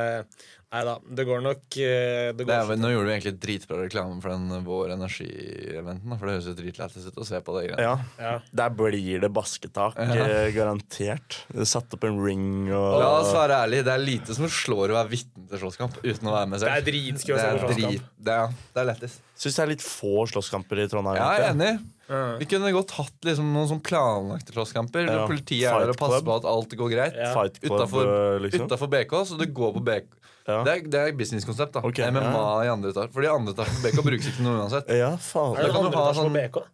Nei da, det går nok eh,
Det
det
er,
går,
vel- nå gjorde vi egentlig dritbra reklame for den Vår Energi-eventen. da, For det høres jo dritlættis ut å se på det. greiene.
Ja.
ja.
Der blir det basketak, øh, garantert. Det er Satt opp en ring og
La oss være ærlig, det er lite som slår å være vitne til slåsskamp uten å være med
Det
selv.
er dritskøy å
Det
se
er,
på
drit,
slåsskamp.
det er, det er lættis.
Syns det er litt få slåsskamper i Trondheim.
Ja, jeg er
egentlig.
enig.
Mm.
Vi kunne godt hatt liksom noen sånn planlagte slåsskamper.
Ja.
hvor Politiet er der og
Fight
passer
club.
på at alt går greit.
Ja.
Fight club,
Utenfor,
øh, liksom.
utenfor BK, så du går på BK.
Ja.
Det er, det er businesskonsept. da
Ok,
MMA
ja.
i andre etasje. Fordi andre etasje på BK brukes ikke noe uansett.
Ja, faen.
Er det
Da kan du
andre
ha
etasje på
sånn-
BK?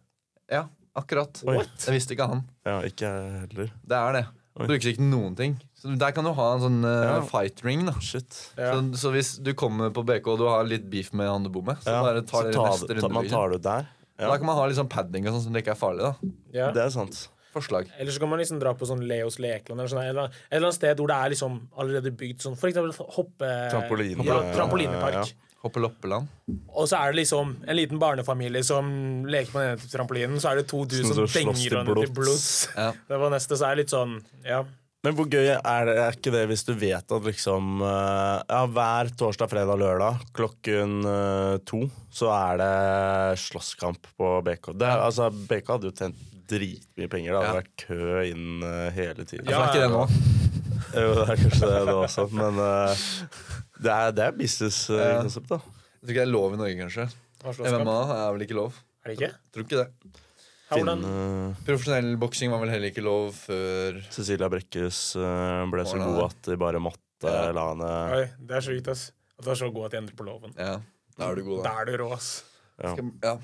Ja, akkurat.
What?
Det visste ikke han.
Ja, ikke jeg heller.
Det er det.
Oi.
Brukes ikke noen ting. Så der kan du ha en sånn eh,
Ja.
fight ring. da
Shit.
Ja.
så, så hvis du kommer på BK og du har litt beef med han du bor med, så
Ja,
bare tar dere
ta
neste
det- ta-
runde.
man
liksom.
tar det ut der. Ja.
Da kan man ha litt sånn padding og sånn som det ikke er farlig. da
Ja.
Det er sant.
Forslag.
Eller så kan man liksom dra på sånn Leos Lekeland eller sånn, et eller annet- et eller annet sted hvor det er liksom allerede bygd sånn for eksempel hoppe...
Trampoline.
Ja, trampolinepark.
Hoppe loppeland.
Og så er det liksom en liten barnefamilie som leker på den ene trampolinen, så er det to du
Som
som
så slåss
denger
til
hverandre til blods.
blods.
Ja.
Det var neste, så er det litt sånn, ja.
Men hvor gøy er, det, er ikke det hvis du vet at liksom eh, Ja, hver torsdag, fredag, lørdag klokken eh, to så er det slåsskamp på BK. Det, er- altså, BK hadde jo tjent dritmye penger. Det hadde
Ja.
vært kø inn eh, hele tiden.
Ja,
Ja,
er ikke det
ja.
nå.
Jo, det er kanskje det, det også, men eh, det er, det er business-konsept, da.
Jeg tror ikke det er lov i Norge, kanskje.
Hva er slåsskamp?
MMA er vel ikke lov.
Er det ikke?
Tror ikke det.
Ja, hvordan?
Finne-
Profesjonell boksing var vel heller ikke lov før
eh, Cecilia Brekkes eh, ble så
Å, nei.
god at de bare måtte
Ja.
la henne
Oi, det er sjukt, ass. At du er så god at de endrer på loven.
Ja, da er du god, da.
Da er du rå, ass.
ja.
Skal- Ja.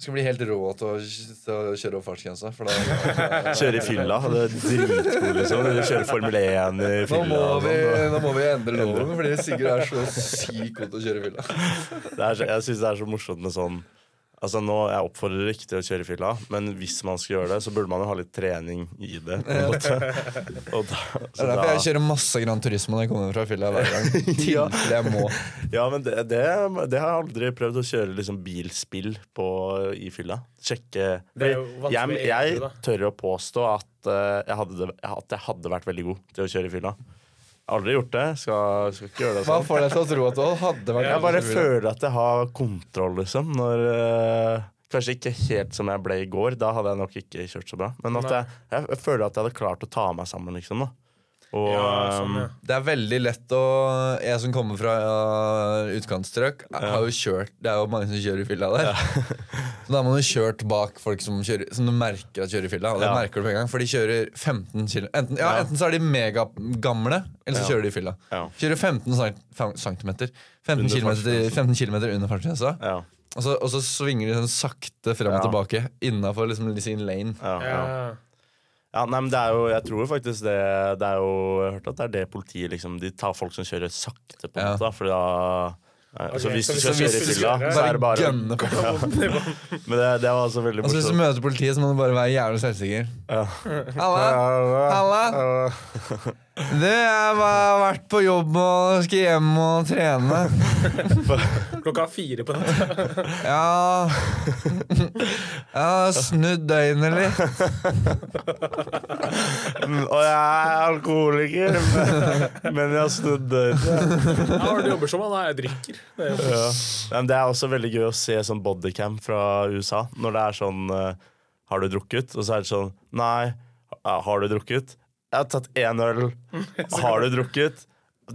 Skal bli helt rå til å, til å kjøre over fartsgrensa. For da,
Kjøre i fylla. Det er dritgod, liksom. Du kjører Formel 1 i
nå, må
fylla. og
vi,
sånn,
nå må vi endre loven, fordi Sigurd er så sykt god til å kjøre i fylla.
og Det er, så- jeg syns det er så morsomt med sånn Altså nå, Jeg oppfordrer ikke til å kjøre i fylla, men hvis man skal gjøre det, så burde man jo ha litt trening i det. på en måte. Og da,
Det
så
er derfor
da-
jeg kjører masse Gran Turismo når jeg kommer fra fylla hver gang.
Ja.
Tilfelle jeg må.
Ja, men det, det, det har jeg aldri prøvd å kjøre liksom bilspill på i fylla. Sjekke
Det er jo vanskelig
jeg,
å gjøre det,
jeg
da.
tør å påstå at, eh, jeg hadde, det- at jeg hadde vært veldig god til å kjøre i fylla. Jeg har Aldri gjort det. Skal, skal ikke gjøre det
Hva
sånn.
får deg til å tro at du hadde vært
Jeg bare føler at jeg har kontroll, liksom. Når eh, Kanskje ikke helt som jeg ble i går. Da hadde jeg nok ikke kjørt så bra. Men at
Nei.
jeg, jeg føler at jeg hadde klart å ta meg sammen, liksom. da Og
Ja, sånn,
eh,
ja.
Det er veldig lett å Jeg som kommer fra uh, utkantstrøk, har jo kjørt Det er jo mange som kjører i fylla der. så da har man jo kjørt bak folk som, kjører, som du merker at kjører i fylla. Og det
Ja.
merker du på en gang, for de kjører 15 km. Enten, ja,
Ja.
enten så er de megagamle, eller så
Ja.
kjører de i fylla.
Ja.
Kjører 15 cent, fem- centimeter 15
Under
kilometer,
fartsgrensen.
15 kilometer under fartsgrensa,
eh, ja,
og, så- og så svinger de sånn sakte frem og
Ja.
tilbake innafor liksom, sin lane.
ja, ja.
Ja.
Ja, nei, men det er jo, Jeg tror faktisk det Det er jo, Jeg har hørt at det er det politiet liksom De tar folk som kjører sakte, på en
Ja.
måte. da, For da Nei,
Ok,
Så hvis du
så hvis
skal
du
kjøre i
skal
fylla,
kjøre-
så er det bare
gønne på.
Men det, det var altså veldig
Altså, hvis du møter
morsomt.
politiet, så må du bare være jævlig selvsikker.
Ja.
Halla! Halla! Du, jeg har vært på jobb og skal hjem og trene.
Klokka fire på natta.
Ja Jeg har snudd døgnet litt.
Mm, Og jeg er alkoholiker, men, men jeg har snudd døgnet.
Ja, hva er det du jobber som? Nei, jeg drikker. Det er jo-
Ja. Nei, Men det er også veldig gøy å se sånn bodycam fra USA. Når det er sånn eh, Har du drukket? Og så er det sånn Nei. Ja, Har du drukket? Jeg har tatt én øl. Har du drukket?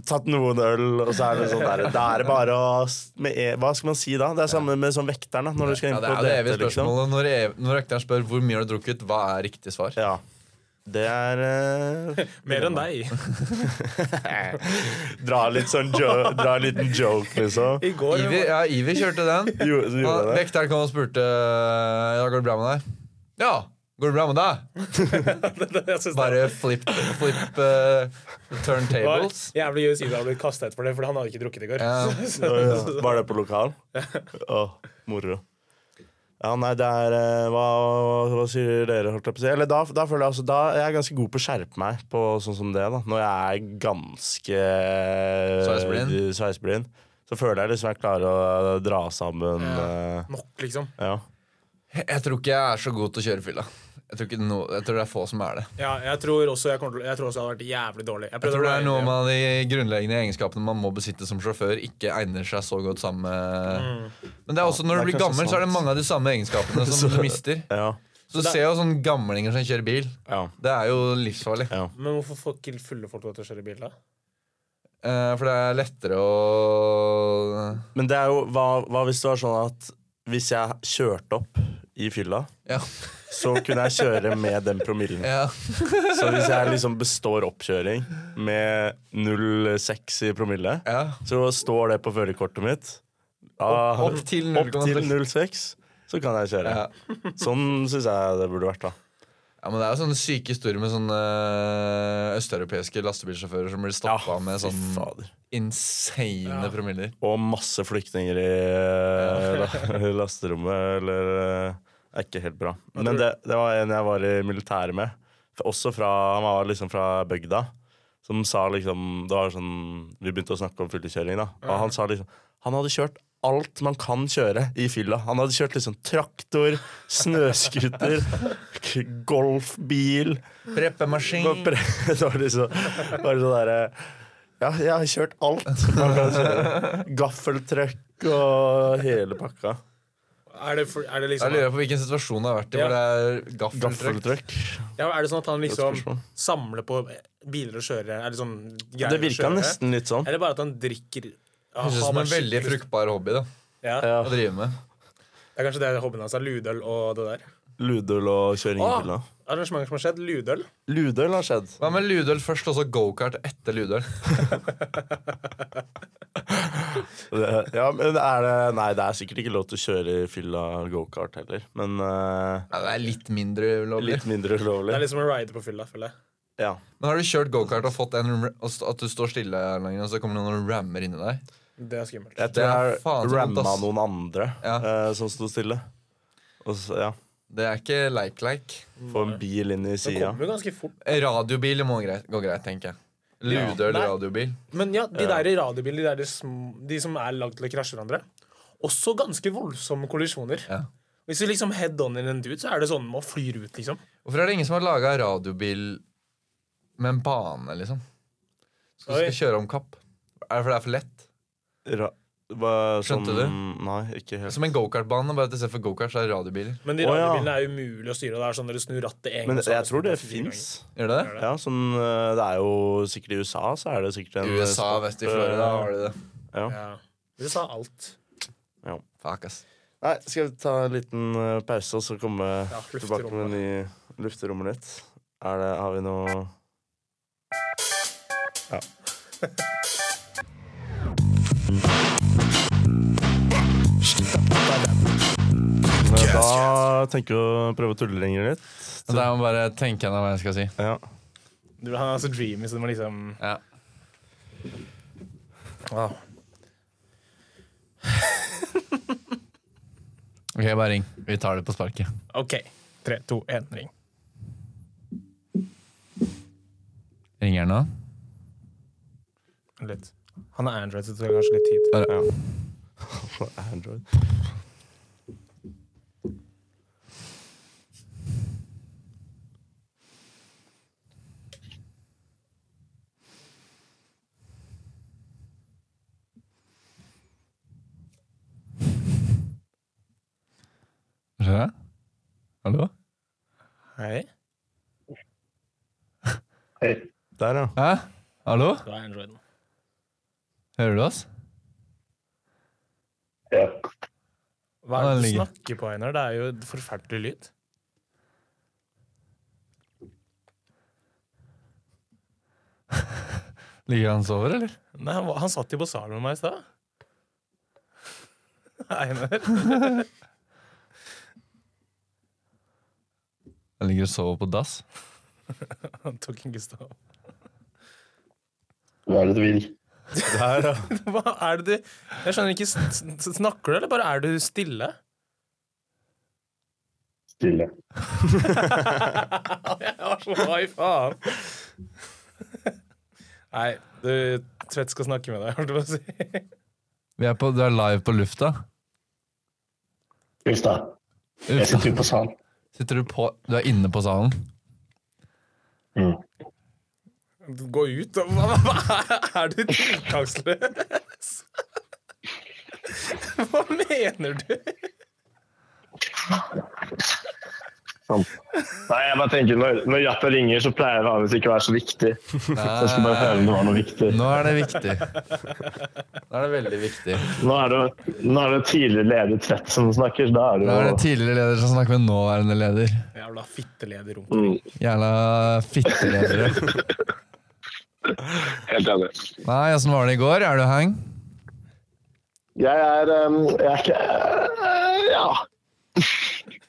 Tatt noen øl, og så er det sånn der. Da er det bare å s- med e Hva skal man si da? Det er samme med sånn vekteren, da. Når du skal inn
Ja, det
på
er det evige
date, liksom.
spørsmålet. Når, ev- når vekteren spør hvor mye har du drukket, hva er riktig svar?
Ja. Det er eh,
Mer enn deg.
Dra litt sånn jo dra en liten joke, liksom.
I går
Ivi, ja, Ivi kjørte den.
Jo, så
Ja,
gjorde jeg det.
Vekteren kom og spurte Ja, går det bra med deg. Ja, går det bra med deg?
jeg synes det
Bare flip, flip eh,
var
turntables.
jævlig gøy å si det. Han ble kastet etter for det, for han hadde ikke drukket i går.
Ja.
Så-
Var det på lokal? Å, moro. Ja, nei, det er eh, Hva, hva sier dere, holdt jeg på å si? Eller da, da føler jeg altså Da jeg er ganske god på å skjerpe meg på sånn som det, da. Når jeg er ganske
Sveisblind?
sveisblind, Så føler jeg liksom jeg klarer å dra sammen eh,
Nok, liksom.
Ja.
Jeg tror ikke jeg er så god til å kjøre fylla. Jeg tror, ikke no, jeg tror det er få som er det.
Ja, jeg tror også jeg, kommer til, jeg tror også jeg hadde vært jævlig dårlig.
Jeg
prøvde
tror det
å
er
være-
noe med de grunnleggende egenskapene man må besitte som sjåfør, ikke egner seg så godt sammen med Men Mm. det er også når
det er
du blir
kanskje
gammel, så er det
sant.
mange av de samme egenskapene som du mister.
Ja.
Så du ser jo sånne gamlinger som kjører bil.
ja.
Det er jo livsfarlig.
ja.
Men hvorfor får ikke fulle folk lov til å kjøre bil, da?
Eh, For det er lettere å
Men det er jo hva, hva hvis det var sånn at hvis jeg kjørte opp i fylla,
Ja.
så kunne jeg kjøre med den promillen.
ja.
Så hvis jeg liksom består oppkjøring med 0,6 i promille,
ja.
så står det på førerkortet mitt. Ah,
Opp til
opp til
0,6.
0,6, så kan jeg kjøre.
Ja.
Sånn syns jeg det burde vært, da.
Ja, men Det er jo sånne syke historier med sånne eh, østeuropeiske lastebilsjåfører som blir stoppa med
fy
sånn
fader.
insane
Ja.
promiller.
Og masse flyktninger i eh, lasterommet, eller eh, er ikke helt bra. Men det, det var en jeg var i militæret med, f- også fra Han var liksom fra bygda, som sa liksom Det var sånn Vi begynte å snakke om fyllekjøring, da. Og han sa liksom Han hadde kjørt alt man kan kjøre i fylla. Han hadde kjørt liksom traktor, snøscooter, k- golfbil
Preppemaskin.
Bare pre- Det var liksom bare sånn derre Ja, jeg har kjørt alt. Man kan kjøre. Gaffeltruck og hele pakka.
Er det, for, er det
Jeg
liksom
lurer på hvilken situasjon det har vært i, hvor det er gaffeltruck.
Gaffeltruck.
ja, Er det sånn at han
Godt
liksom
spørsmål.
samler på biler og kjører Er det sånn greier
Det virka
å kjøre?
nesten litt sånn.
Eller bare at han drikker Ja,
Høres ut
han
som
har
en veldig
skikkelig-
fruktbar hobby da,
ja.
Ja.
å drive med.
Det er kanskje det hobbyen hans er. Ludøl og det der.
Ludøl og kjøring i
Å!
fylla.
Arrangementer som har skjedd. Ludøl.
Ludøl har skjedd.
Hva med Ludøl først, og så gokart etter Ludøl?
Det- Ja, men er det Nei, det er sikkert ikke lov til å kjøre i fylla gokart heller, men eh,
Ja, det er litt mindre ulovlig.
litt mindre
Det er
ulovlig.
litt som å ride på fylla, føler jeg.
Ja.
Men har du kjørt gokart og fått en r- og st- at du står stille, lenger, og så kommer noen og rammer inni deg?
Det er skummelt.
Jeg
Det
tror
er
jeg
faen så vondt,
ramma
ass.
noen andre
Ja.
eh, som sto stille. Og så, ja,
Det er ikke like-like.
Få en bil inn i
Det
sida.
kommer jo ganske fort.
Radiobil må greit, gå greit, tenker jeg. Lude eller
Nei.
radiobil.
Men ja, de der i radiobiler, de, der de, sm de som er lagd til å krasje hverandre, også ganske voldsomme kollisjoner.
Ja.
Hvis du liksom head on in en dude, så er det sånn man flyr ut, liksom.
Hvorfor er det ingen som har laga radiobil med en bane, liksom? Så du
Oi.
skal kjøre om kapp? Er det fordi det er for lett?
Ra hva,
Skjønte Altså,
sånn, Nei, ikke helt.
Som en gokartbane, bare at i stedet for gokart så er det radiobiler.
Men de
Å, ja.
radiobilene er umulig å styre. og Det er sånn dere snur rattet en gang.
Men
så er
jeg tror
sånn
det
fire
fins.
Gjør det det?
ganger. Gjør det?
Ja, sånn, eh, det er jo sikkert i USA, så er det sikkert en
I USA,
sport,
vest i Florida,
eh,
har de det.
Ja.
Ja. Du sa alt.
Fuck, ass.
Nei, skal vi ta en liten eh, pause og så komme
Ja,
tilbake med en ny lufterommet litt? Er det, har vi noe Ja. Men da tenker vi å prøve å tulle lenger litt.
Så der må jeg bare tenke gjennom hva jeg skal si.
Ja.
Du, han er så dreamy, så det må liksom
Ja.
wow.
Ok, bare ring. Vi tar det på sparket.
OK. Tre, to, én, ring.
Ringer den nå?
Litt. Han er Android, så det tar kanskje litt tid.
Bare,
ja. Android.
Skjer det? Hallo?
Hei.
Der, ja.
Hæ? Hallo?
Du er Android.
Hører du oss?
Ja.
Hva er det du
ligger.
snakker på, Einar? Det er jo forferdelig lyd.
Ligger han og sover, eller?
Nei, han, var- han satt jo på salen med meg i stad. Einar.
Han ligger og sover på dass.
Han tok en Gustav.
Hva er det du vil?
Der, ja.
Hva er det du Jeg skjønner ikke. s- s- Snakker du, eller bare er du stille?
Stille.
Jeg var så high, faen. Nei, du Tvedt skal snakke med deg, holdt jeg på å si.
Vi er på, du er live på lufta.
Uff da. Jeg
Uff,
sitter jo på salen.
Sitter du på Du er inne på salen.
Mm.
Gå ut og Hva, hva er du tiltaksløs? Hva mener du?
Sånn. Nei, jeg bare tenker, når, når Jatta ringer, så pleier det vanligvis ikke å være så viktig. Så jeg skulle bare høre om det var noe viktig.
Nå er det viktig. Nå er det veldig viktig.
Nå er det, nå er det tidligere leder Tvedt som snakker, så da er det
Nå er det
jo
tidligere leder som snakker med nåværende leder.
Jævla fitteledig rom.
mm,
Jævla fitteledere.
Helt enig.
Nei, åssen var det i går? Er du hang?
Jeg er, um, jeg er ikke eh, Ja.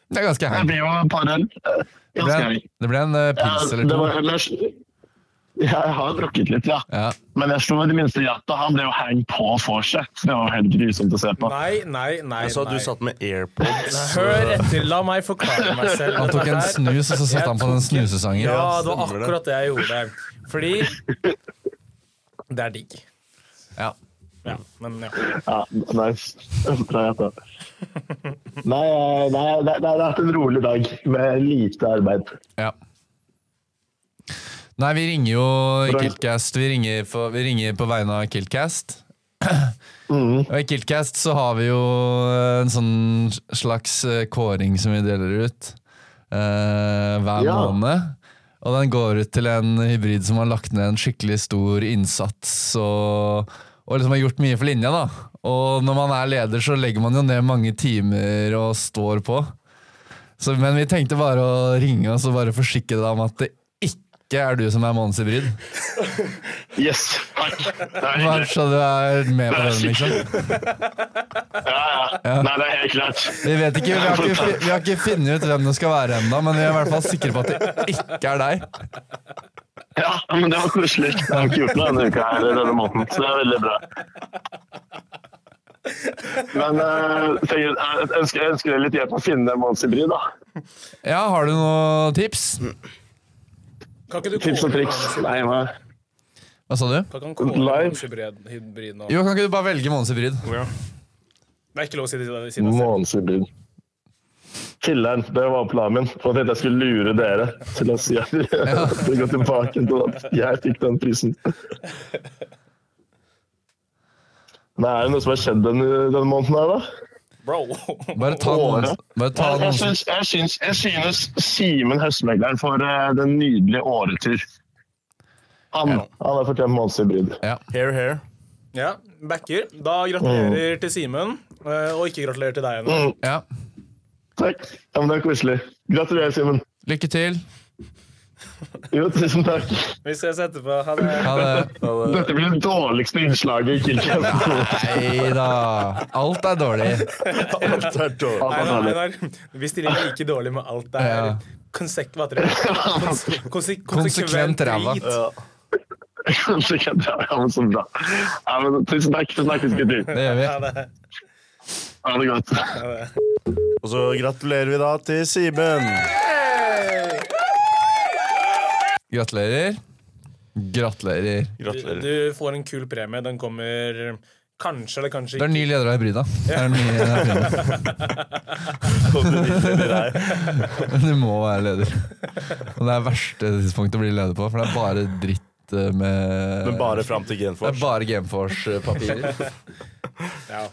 Det er ganske
Jeg
hang.
blir jo et par øl. Eh,
Det
Ganske
ble,
ærlig.
det ble en eh,
Ja,
pils eller
det
to.
var ellers Jeg har drukket litt, ja.
Ja.
Men jeg slo i det minste Jatta. Han ble jo hang på vorset. så Det var jo helt grusomt å se på.
Nei, nei, nei.
Jeg sa at
nei.
du satt med airpods.
Hør etter, la meg forklare meg selv.
Han tok en
Dette her-
snus, og så satte han på den
Jeg tok-
snusesangen.
Ja, det var
stemmer det.
akkurat det jeg gjorde. Fordi det er digg.
Ja.
Ja, men ja.
Ja, nice. Bra jenta. Nei, eh, nei, det, det, det har vært en rolig dag med lite arbeid.
Ja. Nei, vi ringer jo
Hvordan-
Kiltcast. Vi ringer, for, vi ringer på vegne av Kiltcast. Og i Kiltcast så har vi jo en sånn slags eh, kåring som vi deler ut eh, hver
Ja.
måned. Og den går ut til en hybrid som har lagt ned en skikkelig stor innsats og, og liksom har gjort mye for linja. da. Og når man er leder, så legger man jo ned mange timer og står på. Så, men vi tenkte bare å ringe oss og bare forsikre deg om at det ikke ikke er du som er månedens hybrid.
Yes, takk. Det er
Bare
hyggelig.
så du er med på den, liksom.
Ja, ja. Nei, det er helt klart.
Vi vet ikke, vi har ikke, fi- vi har ikke funnet ut hvem det skal være ennå, men vi er i hvert fall sikre på at det ikke er deg.
Ja, men det var koselig. Jeg har ikke gjort noe denne uka her, eller denne måneden, så det er veldig bra. Men eh, tenker- jeg ønsker, jeg ønsker deg litt hjelp å finne en månedshybrid, da.
Ja, har du noen tips?
Kan ikke du
Tips
sånn
og triks. Nei, nei.
Hva sa du?
Kan ikke han kåle
Live.
månedshybriden- hybriden nå?
Jo, kan ikke du bare velge månedens hybrid?
Det er ikke lov å si det til deg selv.
Månedshybrid. Killeren, det var planen min. For at jeg skulle lure dere til å si at til å gå tilbake til at jeg fikk den prisen. Men er det noe som har skjedd denne, denne måneden her, da?
Bro!
Bare ta noen, bare ta
Jeg, jeg,
noen.
syns, jeg, syns, jeg synes Simen Høstmegleren får eh, den nydelige åretur. Han, han har fortjent månedshybrid.
Hair, hair.
Ja, backer. Da gratulerer til Simen, eh, og ikke gratulerer til deg ennå.
Ja.
Mm, Takk. Ja, men det er koselig. Gratulerer, Simen.
Lykke til.
Jo, tusen takk.
Vi ses etterpå. Ha det.
Ha det.
Dette blir det dårligste innslaget i Kilkas.
Nei da. Alt er dårlig.
Alt er dårlig.
Einar, Einar, vi stiller like dårlig med alt det her.
Ja.
Konsek hva heter det? Konse- konse-
Konsekvent ræva.
drit.
Kanskje ikke det er han som bra. Ja, men, tusen takk. Så snakkes, gutter.
Det gjør vi.
Ja, det-
Ha det godt.
Og så gratulerer vi da til Simen.
Gratulerer. Gratulerer.
Gratulerer.
Du får en kul premie. Den kommer kanskje eller kanskje
Du er
ikke.
ny leder av Hybrida. Det er ny leder av Hybrida. Du må være leder. Og det er verste tidspunkt å bli leder på, for det er bare dritt eh, med
Men bare fram til
Det er
Genfors.
bare Gameforce-papirer.
Ja,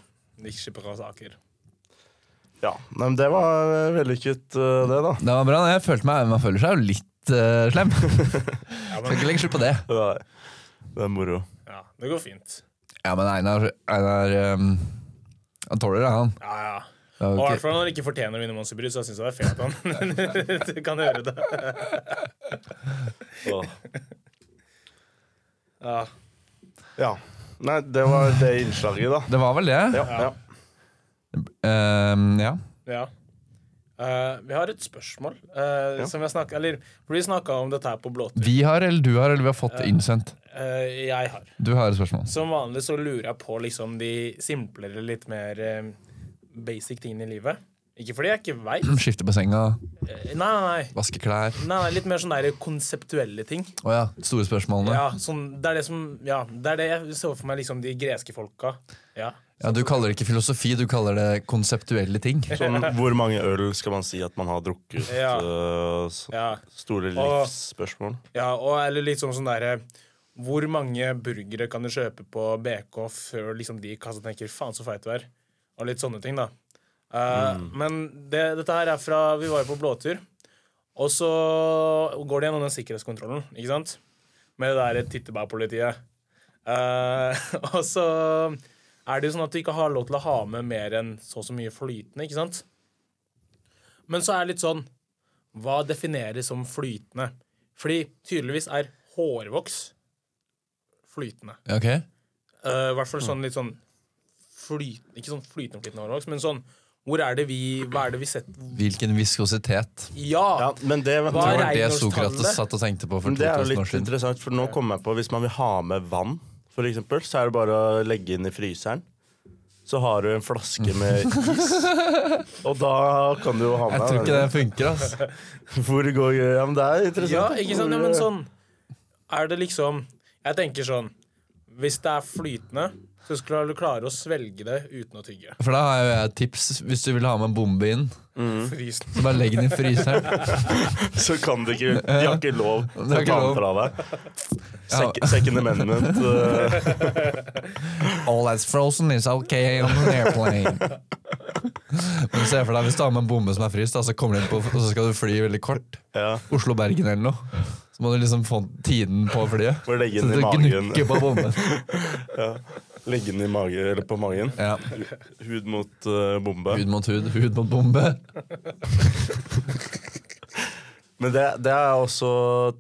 ikke bra saker.
Ja, Nei, men det var eh, vellykket, eh, det, da.
Det var bra. Jeg følte meg, Man føler seg jo litt eh, slem. Skal ikke legge skjul på det.
Det var- Det er moro.
Ja, det går fint.
Ja, men Einar, Einar ehm, Han tåler det, han.
Ja, ja.
Det er
Og
jo
i
ikke-
hvert fall når han ikke fortjener å vinne Monsterbry, så jeg syns det er fair at han kan gjøre det.
Åh.
Ja.
Ja. Nei, det var det innslaget, da.
Det var vel det.
Ja, ja.
Ehm, ja.
ja. Eh, vi har et spørsmål. eh, som vi har snakket, eller, for vi snakka om dette her på blåtur.
Vi har, eller du har, eller vi har fått innsendt.
Eh, jeg har.
Du har et spørsmål.
Som vanlig så lurer jeg på liksom de simplere, litt mer eh, basic tingene i livet. Ikke fordi jeg ikke veit.
Skifte på senga,
Nei, nei, nei.
vaske klær
Nei, nei, Litt mer sånn der konseptuelle ting.
Å ja, store spørsmålene.
Ja, sånn, det er det som Ja, det er det jeg så for meg liksom de greske folka. Ja.
Ja, Du kaller det ikke filosofi, du kaller det konseptuelle ting.
Sånn, hvor mange øl skal man si at man har drukket?
Ja.
eh, s-
Ja,
Store
Og-
livsspørsmål.
ja og eller liksom sånn derre Hvor mange burgere kan du kjøpe på BK før liksom de i kassa tenker 'faen, så feit du er'? Og litt sånne ting, da. Eh, Men det, dette her er fra Vi var jo på blåtur. Og så går de gjennom den sikkerhetskontrollen, ikke sant? Med det der tittebærpolitiet. Eh, og så er det jo sånn at du ikke har lov til å ha med mer enn så og så mye flytende, ikke sant? Men så er det litt sånn Hva defineres som flytende? Fordi tydeligvis er hårvoks flytende.
Ja, Ok?
Eh, I hvert fall sånn litt sånn flytende Ikke sånn flytende flytende hårvoks, men sånn Hvor er det vi Hva er det vi setter
Hvilken viskositet.
Ja, men det,
Hva
Det
er
var det
Reinholdstallet?
Sokrates satt og tenkte på for
men det er jo
2000 år
litt
siden.
interessant, for nå kommer jeg på hvis man vil ha med vann, for eksempel, så er det bare å legge inn i fryseren. Så har du en flaske med is, og da kan du jo ha med
Jeg tror ikke det funker, ass.
Hvor går Ja, men det er interessant.
Ja, ikke sant? Ja, men sånn Er det liksom Jeg tenker sånn Hvis det er flytende, så skal du klare å svelge det uten å tygge.
For da har jo jeg et tips hvis du vil ha med en bombe inn.
Mm.
Frys den.
Så bare legg den i fryseren.
Så kan de ikke De har ikke lov til
har
å
ikke
ta
lov.
den fra deg. Sek, second amendment. eh,
All that's frozen is okay on an airplane. Men se for deg hvis du har med en bombe som er fryst, da, så kommer du inn på, og så skal du fly veldig kort.
ja.
Oslo-Bergen eller noe. Så må du liksom få tiden på flyet.
Bare legge
så
den
du
i magen.
gnukker på bomben.
Legge den i mage, eller på magen.
Ja.
Hud mot eh, bombe.
Hud mot hud, hud mot bombe.
Men det, det har jeg også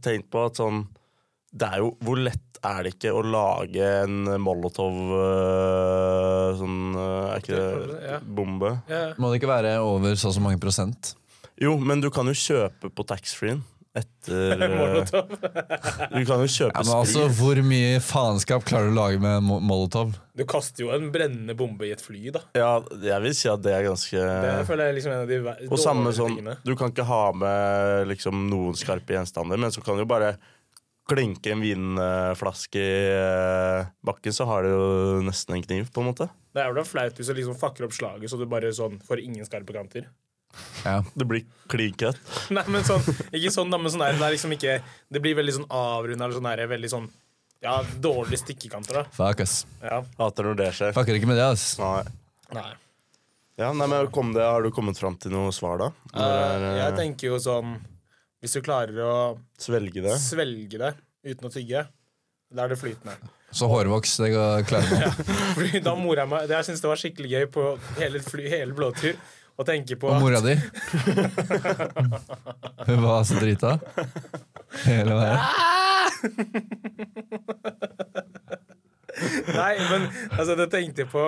tenkt på at sånn Det er jo Hvor lett er det ikke å lage en molotov øh, sånn øh, Er ikke
Ja.
det bombe?
Ja.
Må det ikke være over så og så mange prosent?
Jo, men du kan jo kjøpe på taxfree-en etter øh,
Molotov.
Du kan jo kjøpe
Ja, men
sprit.
altså, Hvor mye faenskap klarer du å lage med mo- molotov?
Du kaster jo en brennende bombe i et fly, da.
Ja, jeg vil si at det er ganske
Det føler jeg er liksom en av de ver-
Eh. Og samme
dårligere
sånn,
tingene.
du kan ikke ha med liksom, noen skarpe gjenstander, men så kan du jo bare klinke en vinflaske i eh, bakken, så har du jo nesten en kniv, på en måte.
Det er vel flaut hvis du liksom fucker opp slaget så du bare sånn får ingen skarpe kanter.
Ja.
Det blir clean cut.
Nei, men sånn, ikke sånn, da, men sånn der, det er liksom ikke Det blir veldig sånn avrunda eller sånn der, veldig sånn Ja, dårlige stikkekanter, da.
Fuck, ass.
Ja.
Hater når det skjer.
Fucker ikke med det, ass.
Nei.
Nei.
Ja, nei, men kom det, Har du kommet fram til noe svar, da? Når
Eh,
det er,
jeg
eh,
tenker jo sånn Hvis du klarer å
Svelge det?
svelge det uten å tygge, da er det flytende.
Så hårvoks, det går klarer man.
Fordi da mora jeg meg det- Jeg syns det var skikkelig gøy på hele, fly, hele blåtur å tenke på
Og mora di? Hun var så drita hele veien.
Ah! Nei, men altså, det tenkte jeg på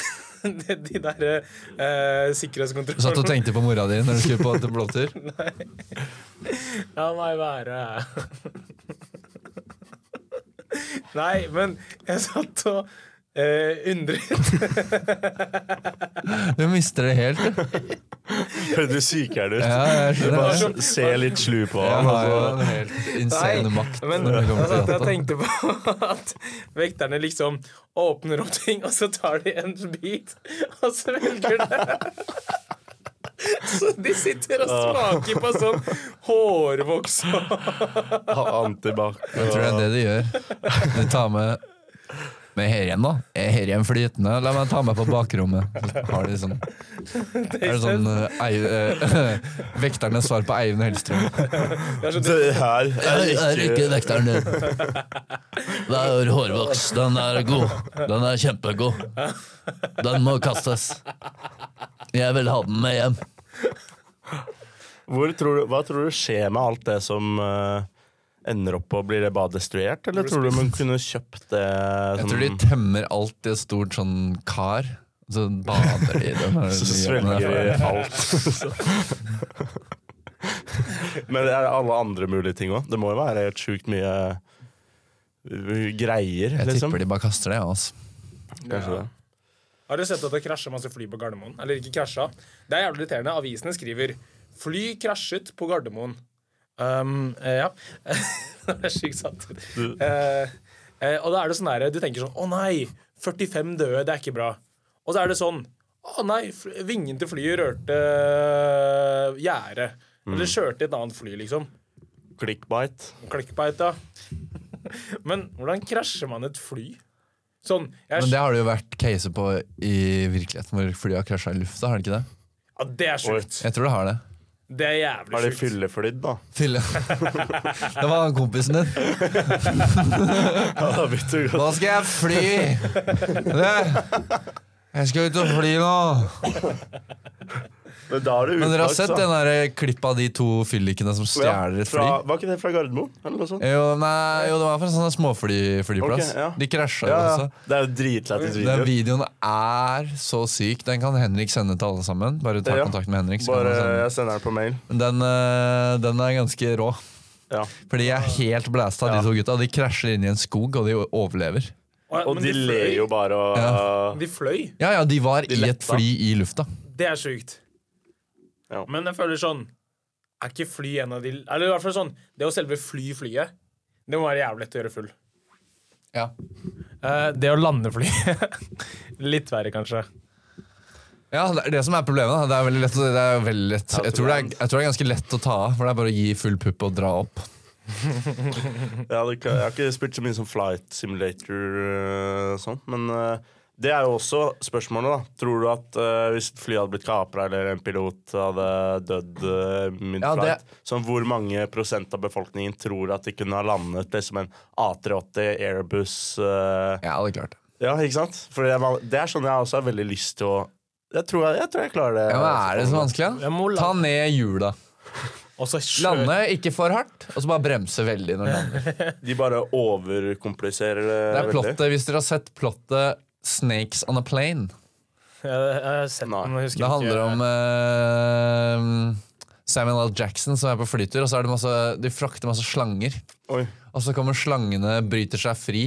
de, de der eh,
Du satt og
sikkerhetskontrollene
tenkte på mora di når du skulle på et blåtur?
La meg være. Nei, men jeg satt og eh, undret
Du mister det helt. du.
Hører du sykeren ut?
Ja, jeg skjønner det.
Bare se litt slu på
Jeg
han.
har jo
og så-
en helt insane makt.
men altså,
når det
jeg
kommer til
satt og
data.
tenkte på at vekterne liksom åpner opp ting, og så tar de en bit, og så velger det. Så de sitter og smaker på sånn hårvoks og
Ha Antibac.
Jeg tror det er det de gjør. De tar med Men her igjen, da. Er her igjen flytende? La meg ta med på bakrommet. Så Har de sånn Er det sånn eh, ei, eh, Vekternes svar på Eivind Hellstrøm.
Det er så
Det her er ikke
vekteren din. Det er hårvoks. Den er god. Den er kjempegod. Den må kastes. Jeg vil ha den med hjem.
Hvor tror du, hva tror du skjer med alt det som eh, ender opp og blir det bare destruert? Eller tror du man kunne kjøpt det
Jeg
som-
tror de tømmer alt i et stort sånn kar. Så bader de i den. her
så
jobben
svelger
der.
de alt? Men det er alle andre mulige ting òg. Det må jo være helt sjukt mye eh, greier,
Jeg
liksom.
tipper de bare kaster det. Altså.
Kanskje det.
Har du sett at det krasjer masse fly på Gardermoen? Eller ikke krasja. Det er jævlig irriterende. Avisene skriver 'Fly krasjet på Gardermoen'. Um, eh, ja. det er sjukt sant. Eh, eh, og da er det sånn der, du tenker sånn 'Å nei, 45 døde, det er ikke bra'. Og så er det sånn 'Å nei, fl- vingen til flyet rørte gjerdet'. Eller kjørte et annet fly, liksom.
Clickbite.
Clickbite, da. Men hvordan krasjer man et fly? Sånn, jeg,
Men det har det jo vært caser på i virkeligheten, hvor flyet har krasja i lufta. Har det ikke det?
ja, det er sjukt.
Jeg tror det har det.
Det er jævlig
Har de
sjukt.
fylleflydd, da?
Fylle. Det var han kompisen din.
Ja, vet du godt.
Nå skal jeg fly! Det. Jeg skal ut og fly nå.
Men da er det
Men dere har
utmark,
sett
da.
den der klipp av de to fyllikene som stjeler et fly?
Fra, var ikke det fra Gardermoen? Eller noe sånt?
Jo, nei, jo, det var fra en sånn småflyplass.
Ok, ja.
De krasja jo
Ja, ja.
også.
Det er jo dritlættis
Den
video.
videoen er så syk. Den kan Henrik sende til alle sammen. Bare ta
Ja.
kontakt med Henrik. Så kan
Bare
han sende.
jeg sender den på mail.
den. Den, eh, den er ganske rå.
Ja.
Fordi jeg er helt blæsta av de to gutta. De krasjer inn i en skog, og de overlever.
Å, ja,
Og
men
de ler
fløy.
jo bare og
Ja.
De fløy.
Ja, ja, de var i et
letta.
fly i lufta.
Det er sjukt.
Ja.
Men jeg føler sånn Er ikke fly en av de Eller i hvert fall sånn Det å selve fly flyet, det må være jævlig lett å gjøre full.
Ja.
Eh, det å lande flyet Litt verre, kanskje.
Ja, Det er det som er problemet. da. Det er veldig lett, å- det er veldig lett. Jeg, tror det er, jeg tror det er ganske lett å ta av, for det er bare å gi full pupp og dra opp.
Jeg, hadde, ikke- jeg har ikke spilt så mye som Flight Simulator øh, sånn, men øh, det er jo også spørsmålet, da. Tror du at øh, hvis et fly hadde blitt kapra, eller en pilot hadde dødd øh, mid
Ja,
flight,
det-
sånn hvor mange prosent av befolkningen tror at de kunne ha landet liksom en A380 Airbus øh,
Ja, det er klart.
Ja, ikke sant? For det er, det er sånn jeg også har veldig lyst til å Jeg tror jeg, jeg, tror jeg klarer det.
Ja, men Er det så vanskelig? da?
Jeg må la-
Ta ned hjula.
Og så kjø-
Lande ikke for hardt, og så bare bremse veldig når du lander.
De bare overkompliserer det.
Det er
veldig.
plottet, Hvis dere har sett plottet 'Snakes on a Plane',
Jeg, jeg har sett
Nei.
den, men husker
det handler
ikke.
om eh, Samuel L. Jackson som er på flytur, og så er det masse, de frakter masse slanger.
Oi.
Og så kommer slangene, bryter seg fri.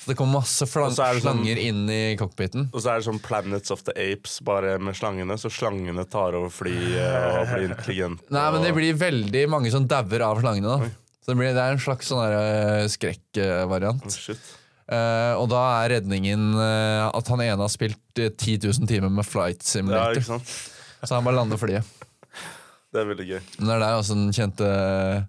Så det kommer masse flang
Og så er det sånn-
slanger inn i cockpiten.
Og så er det sånn Planets of the Apes, bare med slangene. Så slangene tar over flyet og blir intelligente.
Nei, men det
og-
blir veldig mange som dauer av slangene. da. Så det, blir, det er en slags sånn der, eh, skrekkvariant.
Mm.
Å, Shit.
Eh, og da er redningen eh, at han ene har spilt eh, 10 000 timer med flight
Ja,
simulator.
ikke sant?
så han bare lander flyet.
Det er veldig gøy.
Men det er der også den kjente eh,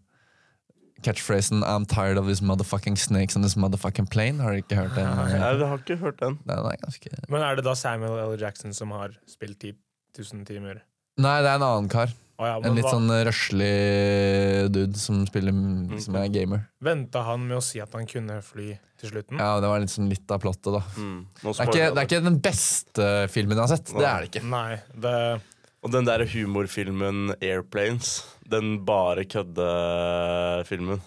catchphrasen 'I'm tired of these motherfucking snakes on this motherfucking plane'. Har du ikke hørt den?
Nei, Jeg har ikke hørt den.
Den er ganske...
Men er det da Samuel L. Jackson som har spilt 10 000 timer?
Nei, det er en annen kar.
Å ja,
En
men
litt
hva,
sånn røslig dude som spiller Som er gamer.
venta han med å si at han kunne fly til slutten?
Ja, Det var liksom litt av plottet, da.
Mm.
Det
Nå
er,
spoiler
ikke,
jeg
det er ikke den beste filmen jeg har sett. Det er det ikke.
Nei, det
Og den der humorfilmen Airplanes, den bare køddefilmen,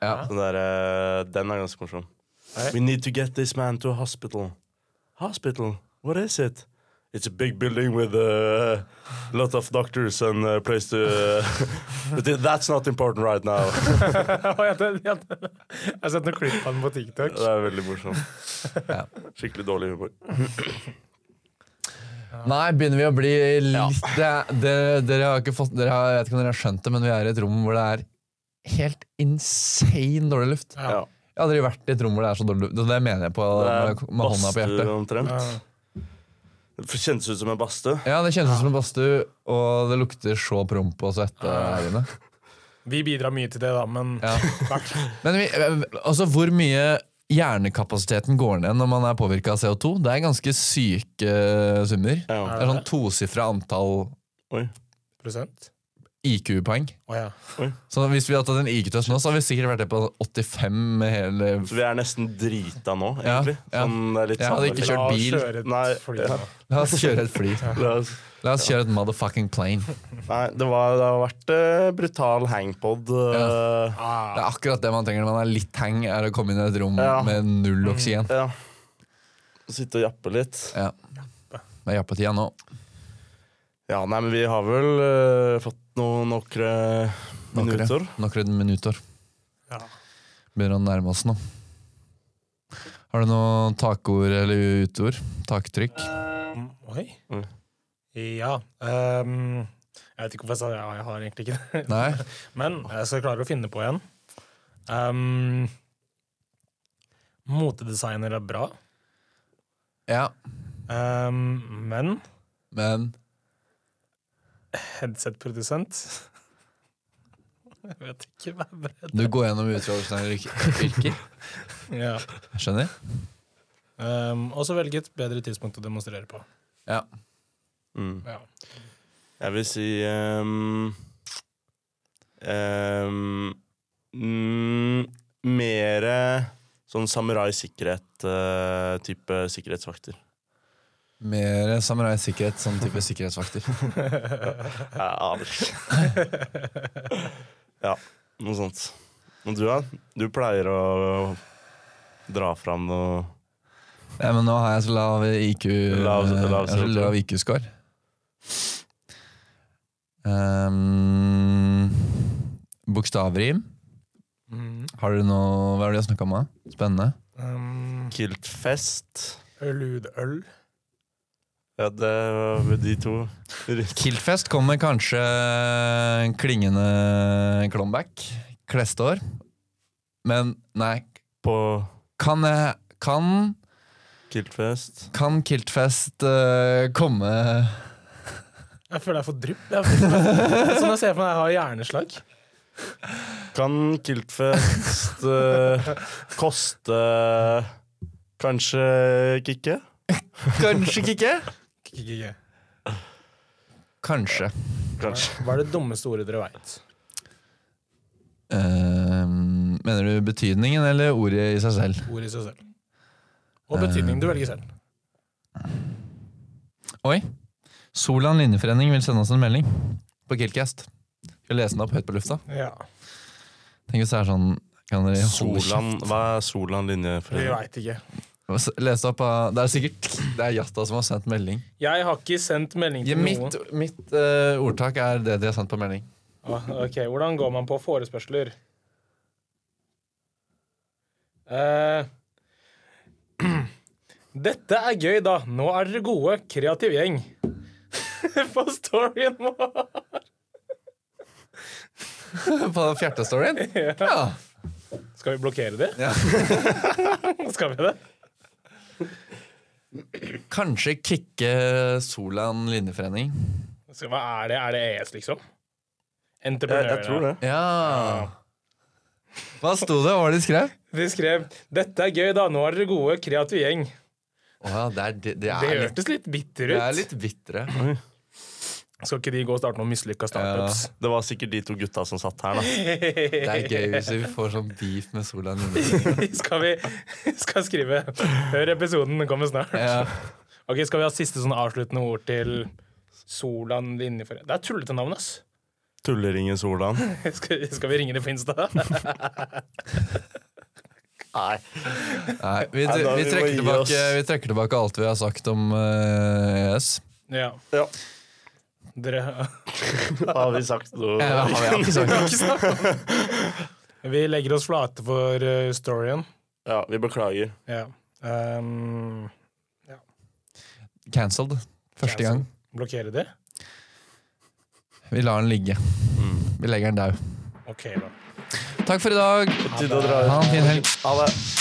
Ja.
den, der, eh, den er ganske morsom.
Nei.
We need to get this man to a hospital. Hospital? What is it? It's a big building with a lot of doctors and a place to... but that's not important right now.
Å, ja, det- ja, det- Jeg har sett noen klipp av den på TikTok.
Det er veldig morsomt.
Ja.
Skikkelig dårlig humor.
Nei, begynner vi å bli litt det, er- dere, dere har ikke fått dere har, Jeg vet ikke om dere har skjønt det, men vi er i et rom hvor det er helt insane dårlig luft.
Ja.
Ja.
Jeg har aldri vært i et rom hvor det er så dårlig luft. og Det mener jeg på med, med hånda på hjertet.
omtrent.
Ja.
Det kjennes ut som en badstue.
Ja, Det kjennes ut som en badstue, og det lukter så promp og svette her inne.
Vi bidrar mye til det, da, men
Ja.
takk.
Men vi, altså, hvor mye hjernekapasiteten går ned når man er påvirka av CO2? Det er ganske syke summer.
Ja.
Det er sånn tosifra antall
Oi.
Prosent?
IQ-poeng.
Å ja.
Så hvis vi hadde tatt en IQ-test nå, så hadde vi sikkert vært det på 85 med hele
Så vi er nesten drita nå,
Ja,
egentlig.
ja.
Sånn, det er
Jeg
litt
hadde
samme
ikke kjørt
effekt.
bil.
La oss kjøre et
Nei,
fly,
ja.
da.
La oss kjøre et fly.
La oss-
La oss kjøre et motherfucking plane.
Nei, det, var, det har vært eh, brutal hangpod. eh,
Ah,
Det er akkurat det man trenger når man er litt hang, er å komme inn i et rom
Ja.
med null oksygen.
ja. Sitte og jappe litt.
Ja. Det er jappetida nå.
Ja, nei, men vi har vel eh, fått noen nokre minutter.
Nokre minutter.
Ja.
Begynner å nærme oss nå. Har du noen takord eller utord? Taktrykk?
Mm, Oi.
Mm.
Ja. ehm, jeg vet ikke hvorfor jeg sa ja, jeg har egentlig ikke det.
Nei?
Men eh, jeg skal klare å finne på en. Ehm, motedesigner er bra,
Ja.
Ehm, men
Men
headset-produsent Jeg vet ikke hva jeg vet.
du går gjennom utradisjonelle yrk- yrker.
Ja.
Skjønner?
Ehm, og så velge et bedre tidspunkt å demonstrere på.
Ja.
Mm.
Ja.
Jeg vil si ehm, ehm, mm, Mere sånn samurai-sikkerhet-type sikkerhetsvakter.
Mer samurai-sikkerhet, sånn type sikkerhetsvakter.
Jeg aner ikke. ja, noe sånt. Og du, da? Du pleier å dra fram noe
Ja, men nå har jeg så lav IQ
Lav-
eh,
lav-
jeg har så lav IQ-score. Um, Bokstavrim.
Mm.
Har dere noe Hva er det vi har snakka om? da? Spennende.
Um,
Kiltfest.
Ludøl.
Ja, det var de to.
Kiltfest kommer kanskje en klingende comeback neste år. Men nei
På
Kan jeg Kan,
Kiltfest.
kan Kiltfest eh, komme
Jeg føler jeg får drypp. Jeg får- Sånn jeg ser for meg jeg har hjerneslag.
Kan Kiltfest eh, koste Kanskje ikke?
Kanskje ikke?
K-k-k-k.
Kanskje.
Kanskje.
Hva er det dummeste ordet dere veit?
Eh, mener du betydningen eller ordet i seg selv?
Ord i seg selv. Og betydningen du velger selv.
Oi. Solan linjeforening vil sende oss en melding på Killcast. Skal lese den opp høyt på lufta.
Ja.
Tenk hvis det er sånn kan dere holde kjeft?
Solan, hva er Solan
Vi
linjeforening?
veit ikke.
Les det opp av Det er sikkert Det er Jata som har sendt melding.
Jeg har ikke sendt melding
Ja,
til
mitt
noen.
mitt eh, ordtak er det de har sendt på melding.
Ah, ok, Hvordan går man på forespørsler? Eh, dette er gøy, da. Nå er dere gode. Kreativ gjeng. på storyen vår.
på fjertestoryen? Ja.
Skal vi blokkere de?
Ja.
Skal vi det?
Kanskje kicke Solan linjeforening.
Skal, hva er det? Er det ES, liksom?
Jeg, jeg tror det.
Ja. Hva sto det? Hva var det de skrev?
De skrev 'Dette er gøy, da. Nå er dere gode. Kreativ gjeng'.
Å ja, det er, det, det
Det
er litt
hørtes litt
Det
bitter ut.
er litt bitre.
Skal ikke de gå og starte noen mislykka startups?
Det var sikkert de to gutta som satt her, da.
Det er gøy hvis vi får sånn beef med Solan linjeforening.
skal vi skal skrive 'Hør episoden, den kommer snart'.
Ja.
Ok, Skal vi ha siste sånn avsluttende ord til Solan Linjeforening? Det er tullete navn, ass.
Tulleringen Solan.
Skal, skal vi ringe det på Insta?
Nei.
Nei, vi,
Nei, da,
vi,
vi må
trekker
gi
tilbake,
oss.
vi trekker tilbake alt vi har sagt om eh, ES.
ja.
Ja.
Dere
Har vi sagt noe?
Eh, har vi- har vi ikke sagt det?
Vi legger oss flate for eh, storyen.
Ja, vi beklager.
Ja. Um,
Cancelled. Første gang.
Blokkere de?
Vi lar den ligge. Mm. Vi legger den daud.
Ok, da.
Takk for i dag.
Tid å dra ut.
Ha en fin helg.
Ha det.